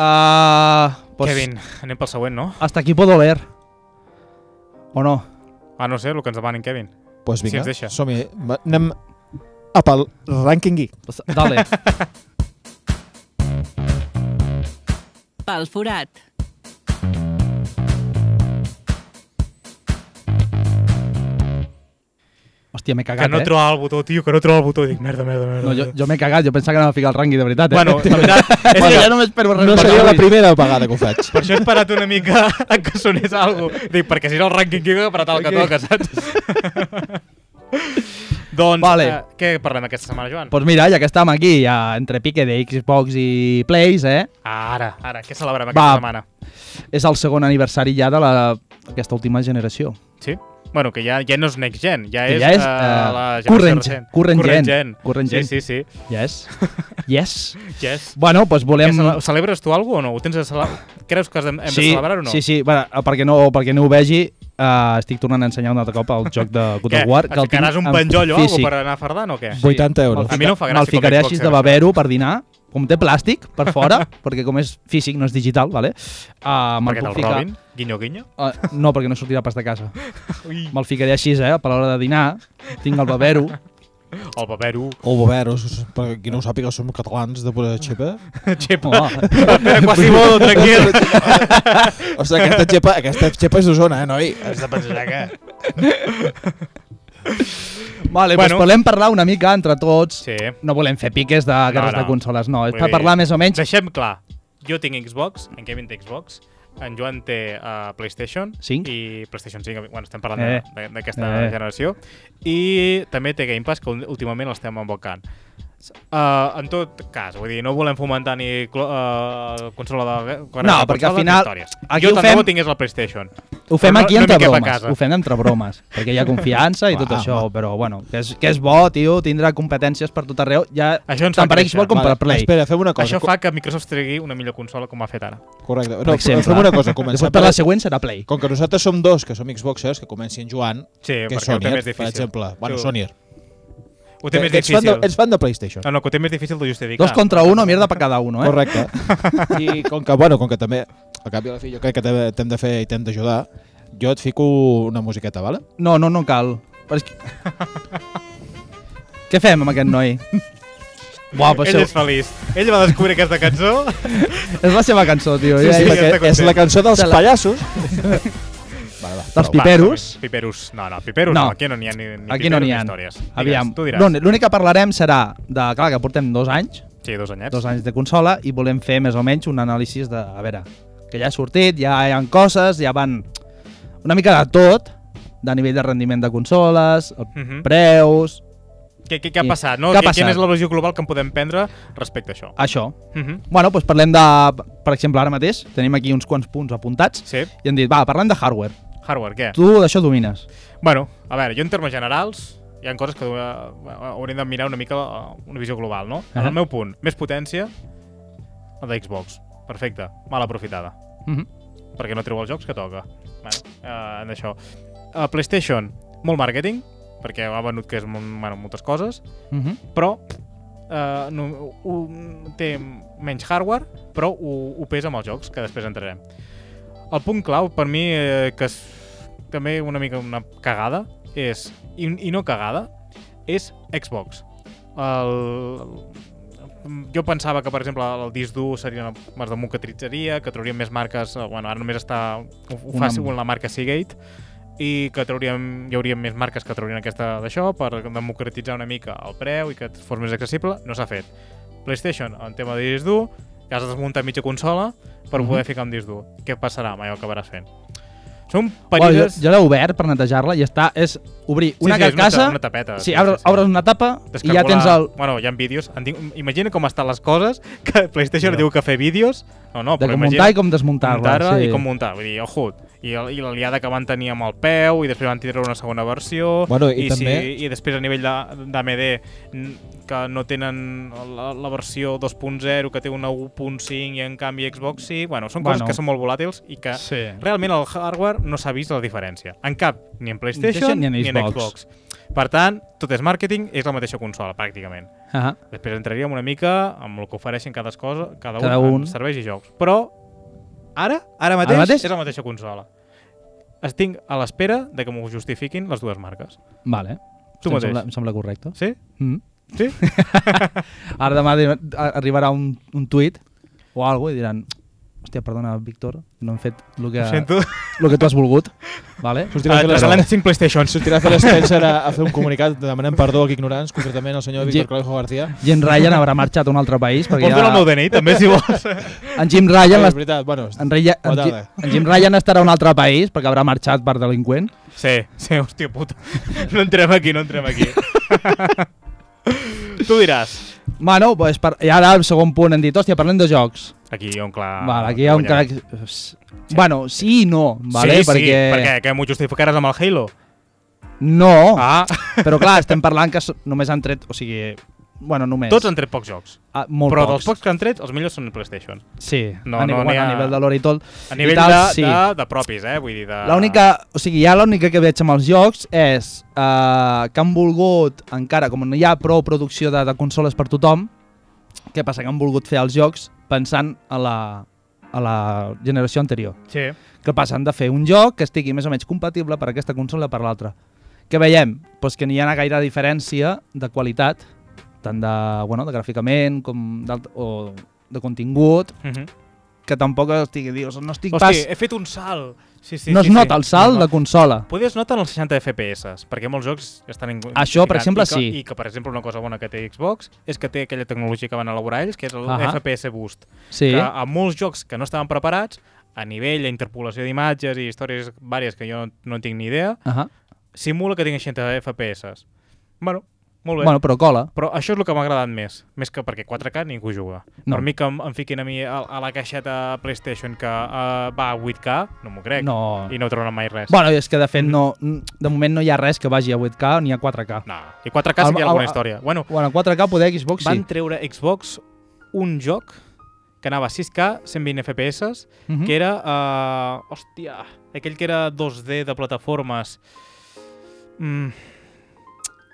Speaker 2: uh, pues
Speaker 3: Kevin, anem pel següent, no?
Speaker 2: hasta aquí puedo leer. O no?
Speaker 3: Ah, no sé, el que ens demanin, Kevin.
Speaker 4: Pues
Speaker 3: Si ens
Speaker 4: vinga,
Speaker 3: deixa.
Speaker 4: som-hi. Va, Anem a pel rànquing geek.
Speaker 2: Pues, dale.
Speaker 1: Pel forat.
Speaker 2: Hòstia, m'he cagat,
Speaker 3: Que no
Speaker 2: eh?
Speaker 3: troba el botó, tio, que no troba el botó. Dic, merda, merda, merda.
Speaker 2: No, jo, jo m'he cagat, jo pensava que anava a ficar el ranking de veritat, eh?
Speaker 3: Bueno, la veritat, és que
Speaker 2: no m'espero
Speaker 4: No seria la primera vegada que ho faig.
Speaker 3: per això he esperat una mica a que sonés alguna cosa. Dic, perquè si és el rànquing que he apretat el que toca, saps? doncs,
Speaker 2: Vale.
Speaker 3: eh, què parlem aquesta setmana, Joan?
Speaker 2: Pues mira, ja que estàvem aquí, ja, entre pique de Xbox i Plays, eh?
Speaker 3: Ara, ara, què celebrem aquesta
Speaker 2: Va.
Speaker 3: setmana?
Speaker 2: És el segon aniversari ja de la, aquesta última generació.
Speaker 3: Sí? Bueno, que ja, ja no és next gen, ja
Speaker 2: Que
Speaker 3: és,
Speaker 2: ja és,
Speaker 3: eh,
Speaker 2: eh,
Speaker 3: la generació
Speaker 2: current-
Speaker 3: recent.
Speaker 2: current gen,
Speaker 3: gen.
Speaker 2: current gen.
Speaker 3: Sí, sí, sí.
Speaker 2: Yes? Yes?
Speaker 3: Yes.
Speaker 2: Bueno, doncs
Speaker 3: Volem...
Speaker 2: volem...
Speaker 3: Ho celebres tu alguna o no? Ho tens de celebrar? Creus que has de, hem de celebrar o no?
Speaker 2: Sí, sí, bueno, eh, perquè no, perquè no ho vegi, eh, estic tornant a ensenyar un altre cop el joc de God
Speaker 3: Què?
Speaker 2: of War.
Speaker 3: Et
Speaker 2: el tinc
Speaker 3: ficaràs un
Speaker 2: en
Speaker 3: penjoll o alguna
Speaker 2: físic.
Speaker 3: per anar fardant o què?
Speaker 4: 80 euros.
Speaker 2: Me'l
Speaker 3: A mi no em fa gràcia
Speaker 2: Me'l
Speaker 3: com a
Speaker 2: ficaré
Speaker 3: Xbox,
Speaker 2: així
Speaker 3: eh,
Speaker 2: de babero per dinar, com té plàstic per fora, perquè com és físic, no és digital, vale? Uh, me'l
Speaker 3: Perquè
Speaker 2: puc
Speaker 3: te'l
Speaker 2: ficar-
Speaker 3: robin? Guinyo, guinyo?
Speaker 2: Uh, no, perquè no sortirà pas de casa.
Speaker 3: Ui,
Speaker 2: Me'l ficaré així, eh? Per l'hora de dinar, tinc el babero.
Speaker 3: el paper-ho.
Speaker 4: O boberos, per qui no ho sàpiga, som catalans de pura xepa.
Speaker 3: Xepa.
Speaker 2: Oh,
Speaker 3: Espera, Quasimodo, tranquil.
Speaker 4: Ostres, aquesta xepa, aquesta xepa és d'Osona, eh, noi?
Speaker 3: Has de pensar que...
Speaker 2: vale,
Speaker 3: Bueno.
Speaker 2: bueno. doncs volem parlar una mica entre tots.
Speaker 3: Sí.
Speaker 2: No volem fer piques de guerres
Speaker 3: No, no.
Speaker 2: de consoles, no. És
Speaker 3: Vull
Speaker 2: per
Speaker 3: dir,
Speaker 2: parlar més o menys...
Speaker 3: Deixem clar. Jo tinc Xbox, en Kevin té Xbox, en Joan té uh, PlayStation
Speaker 2: Cinc.
Speaker 3: i PlayStation 5, bueno, estem parlant
Speaker 2: Eh.
Speaker 3: eh. d'aquesta
Speaker 2: Eh.
Speaker 3: eh. generació i també té Game Pass que ú- últimament l'estem embocant uh, en tot cas, vull dir, no volem fomentar ni uh, consola de guerra
Speaker 2: No,
Speaker 3: de
Speaker 2: perquè al
Speaker 3: consoles ni
Speaker 2: final
Speaker 3: històries.
Speaker 2: aquí
Speaker 3: jo
Speaker 2: ho
Speaker 3: tant
Speaker 2: fem-
Speaker 3: de bo tingués la PlayStation
Speaker 2: Ho fem
Speaker 3: Però no-
Speaker 2: aquí
Speaker 3: no
Speaker 2: entre
Speaker 3: m'hi cap a
Speaker 2: bromes,
Speaker 3: casa.
Speaker 2: ho fem entre bromes, perquè hi ha confiança i tot
Speaker 4: Va,
Speaker 2: això,
Speaker 4: va.
Speaker 2: però bueno, que és, que és bo, tio, tindre competències per tot arreu, ja
Speaker 3: Això ens
Speaker 2: tant
Speaker 3: fa
Speaker 2: per
Speaker 3: créixer.
Speaker 2: Xbox com per Play.
Speaker 4: Espera, fem una cosa.
Speaker 3: Això fa que Microsoft tregui una millor consola com ha fet ara.
Speaker 4: Correcte.
Speaker 2: per
Speaker 4: No,
Speaker 2: exemple.
Speaker 4: fem una cosa, comencem
Speaker 2: Després per
Speaker 4: per...
Speaker 2: la següent serà Play.
Speaker 4: Com que nosaltres som dos, que som Xboxers, que comenci en Joan,
Speaker 3: Sí,
Speaker 4: que
Speaker 3: perquè
Speaker 4: és
Speaker 3: ho té
Speaker 4: Sonier,
Speaker 3: més difícil.
Speaker 4: per exemple. Bueno,
Speaker 3: Sí.
Speaker 4: Sonier.
Speaker 3: Ho
Speaker 2: Eh,
Speaker 3: té més
Speaker 4: Que ets fan,
Speaker 3: difícil.
Speaker 4: de, ets fan de PlayStation.
Speaker 3: No, no, que ho té més difícil de justificar.
Speaker 2: Dos contra uno, mierda per cada uno, eh?
Speaker 4: Correcte. I com que, bueno, com que també, al cap i a la fi, jo crec que t'he- t'hem de fer i t'hem d'ajudar, jo et fico una musiqueta, vale?
Speaker 2: No, no, no cal. Però és que... Què fem amb aquest noi? Buah, però
Speaker 3: Ell
Speaker 2: seu...
Speaker 3: és feliç. Ell va descobrir aquesta cançó.
Speaker 2: és la seva cançó, tio.
Speaker 3: Sí,
Speaker 2: ja
Speaker 3: sí,
Speaker 2: és-
Speaker 4: Perquè
Speaker 3: està content.
Speaker 4: és la cançó dels
Speaker 2: Se la-
Speaker 4: pallassos. vale, va,
Speaker 2: Dels
Speaker 4: prou.
Speaker 2: pi- Piperos?
Speaker 3: Va, piperos. No, no, piperos no.
Speaker 2: No.
Speaker 3: no. Aquí no n'hi ha ni, ni
Speaker 2: Aquí no
Speaker 3: piperos
Speaker 2: n'hi
Speaker 3: ni
Speaker 2: ha.
Speaker 3: històries. Digues,
Speaker 2: Aviam,
Speaker 3: Tu diràs.
Speaker 2: no, l'únic que parlarem serà de, clar, que portem dos anys,
Speaker 3: Sí, dos anyets.
Speaker 2: dos anys de consola, i volem fer més o menys un anàlisi de, a veure, que ja ha sortit, ja hi ha coses, ja van una mica de tot, de nivell de rendiment de consoles, el
Speaker 3: Mhm.
Speaker 2: preus,
Speaker 3: Què, què, què ha
Speaker 2: I-
Speaker 3: passat? No?
Speaker 2: què ha
Speaker 3: Què passat? Quina
Speaker 2: passat?
Speaker 3: és la visió global que en podem prendre respecte a això?
Speaker 2: Això.
Speaker 3: Uh -huh.
Speaker 2: Bueno, doncs parlem de... Per exemple, ara mateix tenim aquí uns quants punts apuntats
Speaker 3: Sí.
Speaker 2: i hem dit, va, parlem de hardware.
Speaker 3: Hardware, què?
Speaker 2: Tu d'això domines.
Speaker 3: Bueno, a veure, jo en termes generals hi ha coses que eh, haurem de mirar una mica eh, una visió global, no? En
Speaker 2: Ahà.
Speaker 3: el meu punt, més potència, la de Xbox. Perfecte, mal aprofitada.
Speaker 2: Mhm.
Speaker 3: Perquè no treu els jocs que toca. Bueno, eh, en això. A PlayStation, molt màrqueting, perquè ha venut que és molt- bueno, moltes coses,
Speaker 2: Mhm.
Speaker 3: però eh, no, un, té menys hardware, però ho, ho pesa amb els jocs, que després entrarem. El punt clau, per mi, eh, que és també una mica una cagada, és, i, i no cagada, és Xbox. El, jo pensava que, per exemple, el disc dur seria una més de mocatritzeria, que traurien més marques... eh, Bueno, ara només està... Ho, ho
Speaker 2: Una-
Speaker 3: fa segons la marca Seagate i que trauríem, hi hauria més marques que traurien aquesta d'això per democratitzar una mica el preu i que fos més accessible, no s'ha fet. PlayStation, en tema de disc dur, ja has de desmuntar mitja consola
Speaker 2: Mhm.
Speaker 3: per poder ficar un disc dur. Què passarà? Mai ho acabaràs fent. Són
Speaker 2: Bueno, jo,
Speaker 3: petites...
Speaker 2: jo l'he obert per netejar-la i està, és obrir una
Speaker 3: sí, és
Speaker 2: carcassa,
Speaker 3: una, ta- una tapeta.
Speaker 2: sí, obres, obres una tapa i ja
Speaker 3: Descargolar-
Speaker 2: tens el...
Speaker 3: Bueno, hi ha vídeos. En dic- Imagina com estan les coses, que PlayStation
Speaker 2: No.
Speaker 3: no. diu que fer vídeos... No, no,
Speaker 2: de
Speaker 3: però
Speaker 2: com
Speaker 3: imagina...
Speaker 2: muntar i com desmuntar-la.
Speaker 3: muntar-la
Speaker 2: sí.
Speaker 3: i com muntar. Vull dir, ojo, i, el- i la liada que van tenir amb el peu, i després van tindre una segona versió,
Speaker 4: Bueno, i també-
Speaker 3: si, i després a nivell de- d'AMD, n- que no tenen la, la versió 2.0, que té una 1.5 i en canvi Xbox sí. Bueno, són coses
Speaker 2: Bueno.
Speaker 3: que són molt volàtils i que
Speaker 2: Sí.
Speaker 3: realment el hardware no s'ha vist la diferència. En cap, ni en PlayStation
Speaker 2: Ni
Speaker 3: ni
Speaker 2: en
Speaker 3: en,
Speaker 2: Xbox.
Speaker 3: Xbox. Per tant, tot és màrqueting, és la mateixa consola, pràcticament.
Speaker 2: Ah,
Speaker 3: Després entraríem una mica amb el que ofereixen cada, cosa, cada,
Speaker 2: Cada
Speaker 3: un,
Speaker 2: un.
Speaker 3: en serveis i jocs. Però ara, ara mateix,
Speaker 2: Ara mateix?
Speaker 3: és la mateixa consola. Estic a l'espera de que m'ho justifiquin les dues marques.
Speaker 2: vale. Sí,
Speaker 3: Tu
Speaker 2: em
Speaker 3: mateix.
Speaker 2: sembla, em sembla correcte.
Speaker 3: Sí?
Speaker 2: Mm.
Speaker 3: Sí?
Speaker 2: Ara demà de- a- arribarà un, un tuit o alguna i diran hòstia, perdona, Víctor, no hem fet el que,
Speaker 3: Ho sento.
Speaker 2: el que tu has volgut. Vale?
Speaker 4: Sortirà
Speaker 3: Ah,
Speaker 4: a fer les-
Speaker 3: traslladant 5 PlayStations.
Speaker 4: Sortirà a fer l'Spencer a, a fer un comunicat demanant perdó a ignorants, concretament al senyor Víctor Claudio García.
Speaker 2: Jim Ryan haurà marxat a un altre país perquè
Speaker 3: Pots donar el meu DNI, també, si vols.
Speaker 2: en Jim Ryan
Speaker 4: Eh,
Speaker 2: les-
Speaker 4: és veritat, bueno,
Speaker 2: en, Raya, en,
Speaker 4: Bona
Speaker 2: Jim,
Speaker 4: tarda.
Speaker 2: en Jim Ryan estarà a un altre país perquè haurà marxat per delinqüent.
Speaker 3: Sí, sí, hòstia puta. No entrem aquí, no entrem aquí. tu diràs.
Speaker 2: Bueno, doncs per, i ara el segon punt hem dit, hòstia, parlem de jocs.
Speaker 3: Aquí hi ha un clar...
Speaker 2: Ah, vale, aquí hi ha un
Speaker 3: guanyador.
Speaker 2: crac... Bueno, sí i no, vale?
Speaker 3: Sí, perquè...
Speaker 2: perquè...
Speaker 3: sí, perquè que m'ho justificaràs amb el Halo.
Speaker 2: No,
Speaker 3: Ah,
Speaker 2: però clar, estem parlant que so- només han tret... O sigui, bueno, només...
Speaker 3: tots han tret pocs jocs.
Speaker 2: ah, molt
Speaker 3: Però
Speaker 2: pocs.
Speaker 3: dels pocs que han tret, els millors són PlayStation.
Speaker 2: Sí,
Speaker 3: No,
Speaker 2: a, nivell,
Speaker 3: no, n'hi
Speaker 2: bueno, a
Speaker 3: ha-
Speaker 2: nivell de l'hora i tot.
Speaker 3: A
Speaker 2: i
Speaker 3: nivell
Speaker 2: tal,
Speaker 3: de,
Speaker 2: sí.
Speaker 3: de, de propis, eh? Vull dir, de...
Speaker 2: L'única, o sigui, ja l'única que veig amb els jocs és eh, que han volgut, encara com no hi ha prou producció de, de consoles per tothom, què passa? Que han volgut fer els jocs pensant a la, a la generació anterior.
Speaker 3: Sí.
Speaker 2: que passa? Han de fer un joc que estigui més o menys compatible per aquesta consola o per l'altra. Què veiem? Doncs que n'hi ha gaire diferència de qualitat, tant de, bueno, de gràficament com d'alt- o de contingut,
Speaker 3: Uh -huh.
Speaker 2: que tampoc estigui, dius, no estic
Speaker 3: Hosti,
Speaker 2: pas...
Speaker 3: he fet un salt. Sí, sí,
Speaker 2: no es
Speaker 3: sí,
Speaker 2: nota
Speaker 3: sí.
Speaker 2: el salt de consola.
Speaker 3: Poder es noten els 60 FPS, perquè molts jocs estan... in-
Speaker 2: Això, per
Speaker 3: ficant,
Speaker 2: exemple,
Speaker 3: i que,
Speaker 2: sí.
Speaker 3: I que, per exemple, una cosa bona que té Xbox és que té aquella tecnologia que van elaborar ells, que és el
Speaker 2: Ahà.
Speaker 3: FPS Boost.
Speaker 2: Sí.
Speaker 3: Que a molts jocs que no estaven preparats, a nivell d'interpolació d'imatges i històries vàries que jo no, no en tinc ni idea,
Speaker 2: Ahà.
Speaker 3: simula que tinguin 60 FPS. Bueno, molt bé.
Speaker 2: Bueno, però cola.
Speaker 3: Però això és el que m'ha agradat més, més que perquè 4K ningú juga.
Speaker 2: No.
Speaker 3: No. Per mi que em, em fiquin a mi a, a la caixeta PlayStation que uh, va a 8K, no m'ho crec,
Speaker 2: No.
Speaker 3: i no trauran mai res.
Speaker 2: Bueno, és que de fet no, de moment no hi ha res que vagi a 8K ni a 4K.
Speaker 3: No. I 4K sí
Speaker 2: Al-
Speaker 3: que hi
Speaker 2: al-
Speaker 3: ha alguna
Speaker 2: al-
Speaker 3: història. Bueno,
Speaker 2: Bueno, 4K poder Xbox
Speaker 3: van
Speaker 2: sí.
Speaker 3: treure a Xbox un joc que anava a 6K, 120 FPS,
Speaker 2: Mhm.
Speaker 3: que era... Uh, hòstia, aquell que era 2D de plataformes. Mm.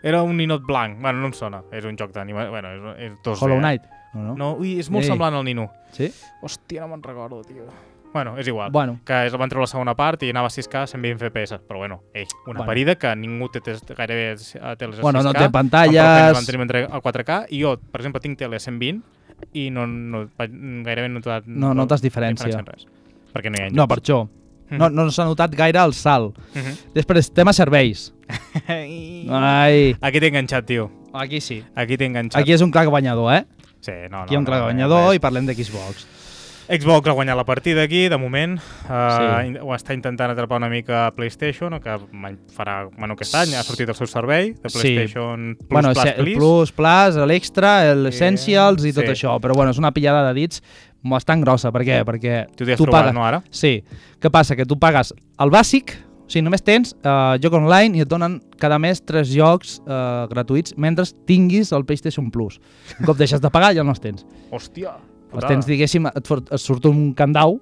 Speaker 3: Era un ninot blanc. Bueno, no em sona. És un joc d'anima... Bueno, és, és 2D.
Speaker 2: Hollow
Speaker 3: eh?
Speaker 2: Knight. No, no?
Speaker 3: No, ui, és molt
Speaker 2: Ei.
Speaker 3: semblant al Nino.
Speaker 2: Sí?
Speaker 3: Hòstia, no me'n recordo, tio. Bueno, és igual.
Speaker 2: Bueno.
Speaker 3: Que és, van treure la segona part i anava a 6K, 120 FPS. Però bueno, ei, una
Speaker 2: Bueno.
Speaker 3: bueno. parida que ningú té test, gairebé a teles a
Speaker 2: Bueno,
Speaker 3: 6K.
Speaker 2: no té
Speaker 3: El
Speaker 2: pantalles...
Speaker 3: van tenim entre a 4K i jo, per exemple, tinc tele a 120 i no, no, vaig- gairebé no he notat...
Speaker 2: No notes diferència.
Speaker 3: en Mm. res. Perquè no hi ha
Speaker 2: No, per això. No, no s'ha notat gaire el salt.
Speaker 3: Mhm.
Speaker 2: Després, tema serveis. Ai,
Speaker 3: Aquí t'he enganxat, tio.
Speaker 2: aquí sí.
Speaker 3: Aquí t'he enganxat.
Speaker 2: Aquí és un clar guanyador, eh?
Speaker 3: Sí, no, no,
Speaker 2: Aquí hi ha un clar
Speaker 3: no,
Speaker 2: guanyador
Speaker 3: res.
Speaker 2: i parlem de Xbox.
Speaker 3: Xbox ha guanyat la partida aquí, de moment. Uh,
Speaker 4: Sí.
Speaker 3: sí. Ho està intentant atrapar una mica PlayStation, que mai farà, bueno, aquest any ha sortit el seu servei de
Speaker 2: Sí.
Speaker 3: PlayStation sí. Plus,
Speaker 2: bueno,
Speaker 3: Plus,
Speaker 2: el
Speaker 3: Please.
Speaker 2: Plus, Plus, l'Extra, l'Essentials i
Speaker 3: Sí.
Speaker 2: tot això. Però bueno, és una pillada de dits bastant grossa. Per què? Perquè
Speaker 3: Tu t'hi has trobat, no, ara?
Speaker 2: Sí. Què passa? Que tu pagues el bàsic, o sigui, només tens eh, joc online i et donen cada mes tres jocs eh, gratuïts mentre tinguis el PlayStation Plus. Un cop deixes de pagar ja no els tens.
Speaker 3: Hòstia,
Speaker 2: Els tens, diguéssim, et, for- et surt un candau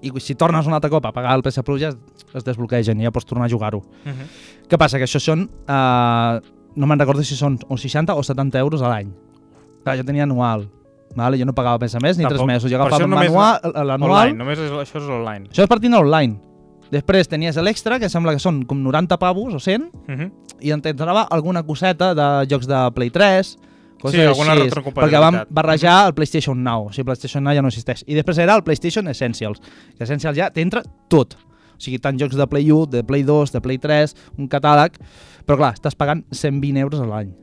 Speaker 2: i si tornes un altre cop a pagar el PS Plus ja es, es desbloquegen i ja pots tornar a jugar-ho.
Speaker 3: Uh -huh.
Speaker 2: Què passa? Que això són... Eh, no me'n recordo si són o 60 o 70 euros a l'any. Clar, jo tenia anual. Vale? Jo no pagava més a més ni
Speaker 3: Tampoc.
Speaker 2: 3 mesos. Jo
Speaker 3: Per
Speaker 2: agafava
Speaker 3: això només
Speaker 2: manual-
Speaker 3: Online,
Speaker 2: l'anual...
Speaker 3: només és, això és online.
Speaker 2: Això és partint a online. Després tenies l'extra, que sembla que són com 90 pavos o 100,
Speaker 3: Uh -huh.
Speaker 2: i en t'entrava alguna coseta de jocs de Play 3, coses
Speaker 3: Sí, alguna
Speaker 2: així, perquè
Speaker 3: retrocompatibilitat.
Speaker 2: vam barrejar el PlayStation Now, o sigui, el PlayStation Now ja no existeix. I després era el PlayStation Essentials, que Essentials ja t'entra tot. O sigui, tant jocs de Play 1, de Play 2, de Play 3, un catàleg, però clar, estàs pagant 120 euros a l'any.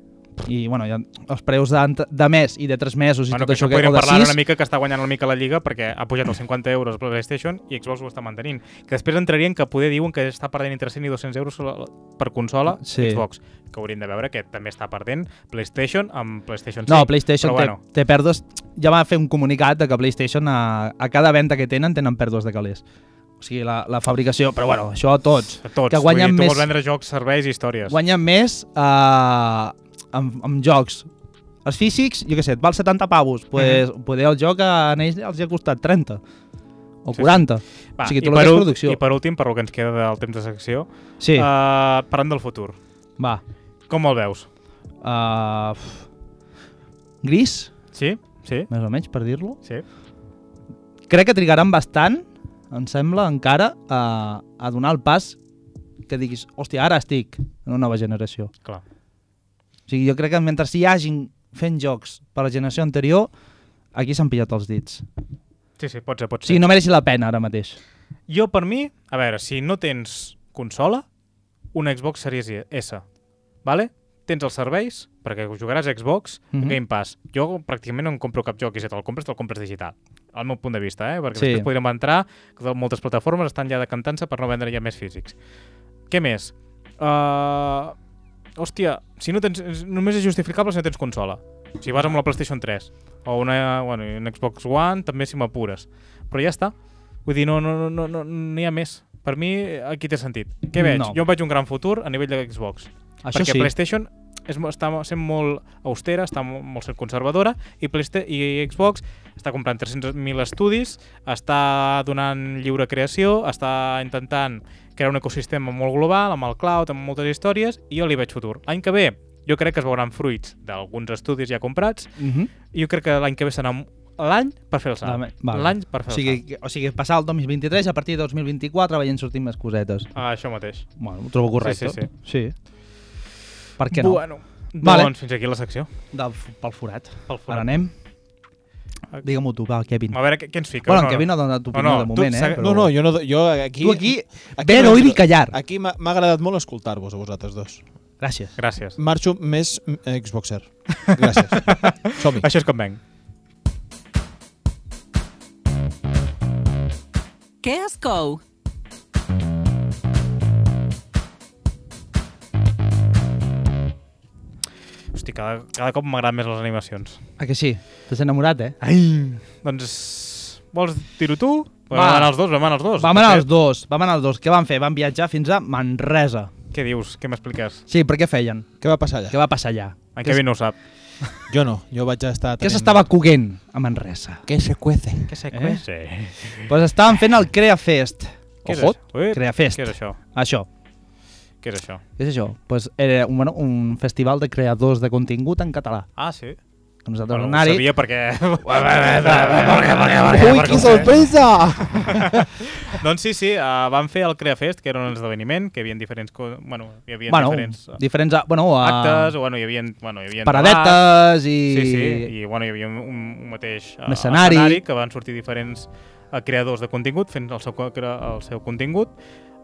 Speaker 2: I, bueno, ja els preus de, de mes i de 3 mesos i
Speaker 3: Bueno,
Speaker 2: tot
Speaker 3: que
Speaker 2: això
Speaker 3: això
Speaker 2: que, o
Speaker 3: podríem
Speaker 2: de
Speaker 3: parlar
Speaker 2: 6,
Speaker 3: una mica que està guanyant una mica la Lliga perquè ha pujat els 50 euros PlayStation i Xbox ho està mantenint. Que després entrarien que poder diuen que està perdent entre 100 i 200 euros la- per consola
Speaker 2: Sí.
Speaker 3: sí. Xbox, que hauríem de veure que també està perdent PlayStation amb PlayStation 5.
Speaker 2: No, PlayStation
Speaker 3: Però
Speaker 2: bueno.
Speaker 3: bueno,
Speaker 2: té, té pèrdues... Ja va fer un comunicat de que PlayStation a, a cada venda que tenen tenen pèrdues de calés. O sigui, la, la fabricació... Però bueno, això a tots.
Speaker 3: a tots.
Speaker 2: que guanyen
Speaker 3: Vull dir, tu
Speaker 2: més-
Speaker 3: vols vendre jocs, serveis i històries.
Speaker 2: Guanyen més eh, amb, amb jocs. Els físics, jo què sé, et val 70 pavos. Pues,
Speaker 3: Mhm.
Speaker 2: poder el joc a ells els hi ha costat 30 o
Speaker 3: Sí, sí.
Speaker 2: 40. o sigui,
Speaker 3: i
Speaker 2: tot el que
Speaker 3: per
Speaker 2: és
Speaker 3: ul-
Speaker 2: producció.
Speaker 3: I per últim, per el que ens queda del temps de secció,
Speaker 2: Sí, uh,
Speaker 3: uh, parlant del futur.
Speaker 2: va.
Speaker 3: Com el veus?
Speaker 2: Uh, pf. gris,
Speaker 3: Sí? Sí?
Speaker 2: més o menys, per dir-lo.
Speaker 3: Sí?
Speaker 2: crec que trigaran bastant, em sembla, encara, a, a donar el pas que diguis, hòstia, ara estic en una nova generació.
Speaker 3: Clar.
Speaker 2: O sigui, jo crec que mentre hi hagin fent jocs per la generació anterior, aquí s'han pillat els dits.
Speaker 3: Sí, sí, pot ser,
Speaker 2: O
Speaker 3: pot ser.
Speaker 2: sigui, no mereix la pena ara mateix.
Speaker 3: Jo, per mi, a veure, si no tens consola, una Xbox Series S, vale? Tens els serveis, perquè jugaràs a Xbox, mm
Speaker 2: Mhm.
Speaker 3: -hmm. Game Pass. Jo pràcticament no em compro cap joc i si te'l compres, te'l compres digital. Al meu punt de vista, eh? Perquè
Speaker 2: Sí.
Speaker 3: sí. després podríem entrar, que moltes plataformes estan ja decantant-se per no vendre ja més físics. Què més? Uh... Hòstia, si no tens, és- només és justificable si no tens consola. Si vas amb la PlayStation 3 o una, bueno, i un Xbox One, també si m'apures. Però ja està. Vull dir, no, no, no, no, no hi ha més. Per mi, aquí té sentit. Què veig?
Speaker 2: No.
Speaker 3: Jo em veig un gran futur a nivell de Xbox.
Speaker 2: Això
Speaker 3: perquè
Speaker 2: sí.
Speaker 3: PlayStation és, mo- està sent molt austera, està mo- molt sent conservadora, i, Playsta i Xbox està comprant 300.000 estudis, està donant lliure creació, està intentant crear un ecosistema molt global, amb el cloud, amb moltes històries, i jo li veig futur. L'any que ve, jo crec que es veuran fruits d'alguns estudis ja comprats,
Speaker 2: Uh -huh.
Speaker 3: i jo crec que l'any que ve serà l'any per fer el salt. L'any per fer
Speaker 2: o
Speaker 3: el
Speaker 2: sigui,
Speaker 3: salt.
Speaker 2: que- o sigui, passar el 2023 i a partir de 2024 veient sortir més cosetes.
Speaker 3: Ah, això mateix.
Speaker 2: Bueno, ho trobo correcte.
Speaker 3: Sí, sí,
Speaker 2: sí. Per què no?
Speaker 3: Bueno,
Speaker 2: Vale.
Speaker 3: doncs fins aquí la secció.
Speaker 2: Del, pel forat.
Speaker 3: Pel
Speaker 2: Ara
Speaker 3: forat.
Speaker 2: anem. Digue-m'ho tu, va, Kevin.
Speaker 3: A veure, què, què ens fiques?
Speaker 2: Bueno, el Kevin ha donat opinió de moment, eh,
Speaker 3: s'ha-
Speaker 2: però-
Speaker 4: No, no, jo, no, jo aquí...
Speaker 2: Tu aquí, ver,
Speaker 4: m'ha-
Speaker 2: oír i callar.
Speaker 4: Aquí m'ha m'ha agradat molt escoltar-vos a vosaltres dos.
Speaker 2: Gràcies.
Speaker 3: Gràcies.
Speaker 4: Marxo més eh, Xboxer. Gràcies. Som-hi.
Speaker 3: Això és com venc.
Speaker 1: Què es cou?
Speaker 3: Hosti, cada, cada cop m'agraden més les animacions.
Speaker 2: Ah, que sí? T'has enamorat, eh?
Speaker 3: Ai! Doncs... Vols dir-ho tu?
Speaker 2: Va.
Speaker 3: Vam anar els dos, vam anar els dos.
Speaker 2: Vam
Speaker 3: De
Speaker 2: anar
Speaker 3: fet,
Speaker 2: els dos, vam anar els dos. Què van fer? Van viatjar fins a Manresa.
Speaker 3: Què dius? Què m'expliques?
Speaker 2: Sí, però què feien?
Speaker 4: Què va passar allà?
Speaker 2: Què va passar allà?
Speaker 3: En Kevin no ho sap.
Speaker 4: Jo no, jo vaig estar...
Speaker 2: Què s'estava coguent a Manresa?
Speaker 4: Que se cuece.
Speaker 3: Què sé,
Speaker 2: Eh?
Speaker 3: Sí.
Speaker 2: Doncs pues estaven fent el Crea Fest.
Speaker 3: Què és
Speaker 2: Ojo,
Speaker 3: això? Ui,
Speaker 2: Crea Fest.
Speaker 3: Què és això?
Speaker 2: Això.
Speaker 3: Què és això?
Speaker 2: Què és això? Pues era un, bueno, un festival de creadors de contingut en català.
Speaker 3: Ah, sí.
Speaker 2: Que nosaltres bueno,
Speaker 3: Bueno, ho
Speaker 2: anar-hi...
Speaker 3: sabia perquè...
Speaker 4: Ui, que sorpresa!
Speaker 3: doncs sí, sí, uh, vam fer el CreaFest, que era un esdeveniment, que hi havia diferents... co- Bueno, hi havia
Speaker 2: Bueno,
Speaker 3: diferents... eh,
Speaker 2: diferents a, bueno, a,
Speaker 3: actes, o bueno, hi havia, bueno, hi havia debats,
Speaker 2: paradetes i...
Speaker 3: sí, sí, i bueno, hi havia un, un un mateix eh,
Speaker 2: Un escenari.
Speaker 3: que van sortir diferents eh, creadors de contingut fent el seu, co- cre- el seu contingut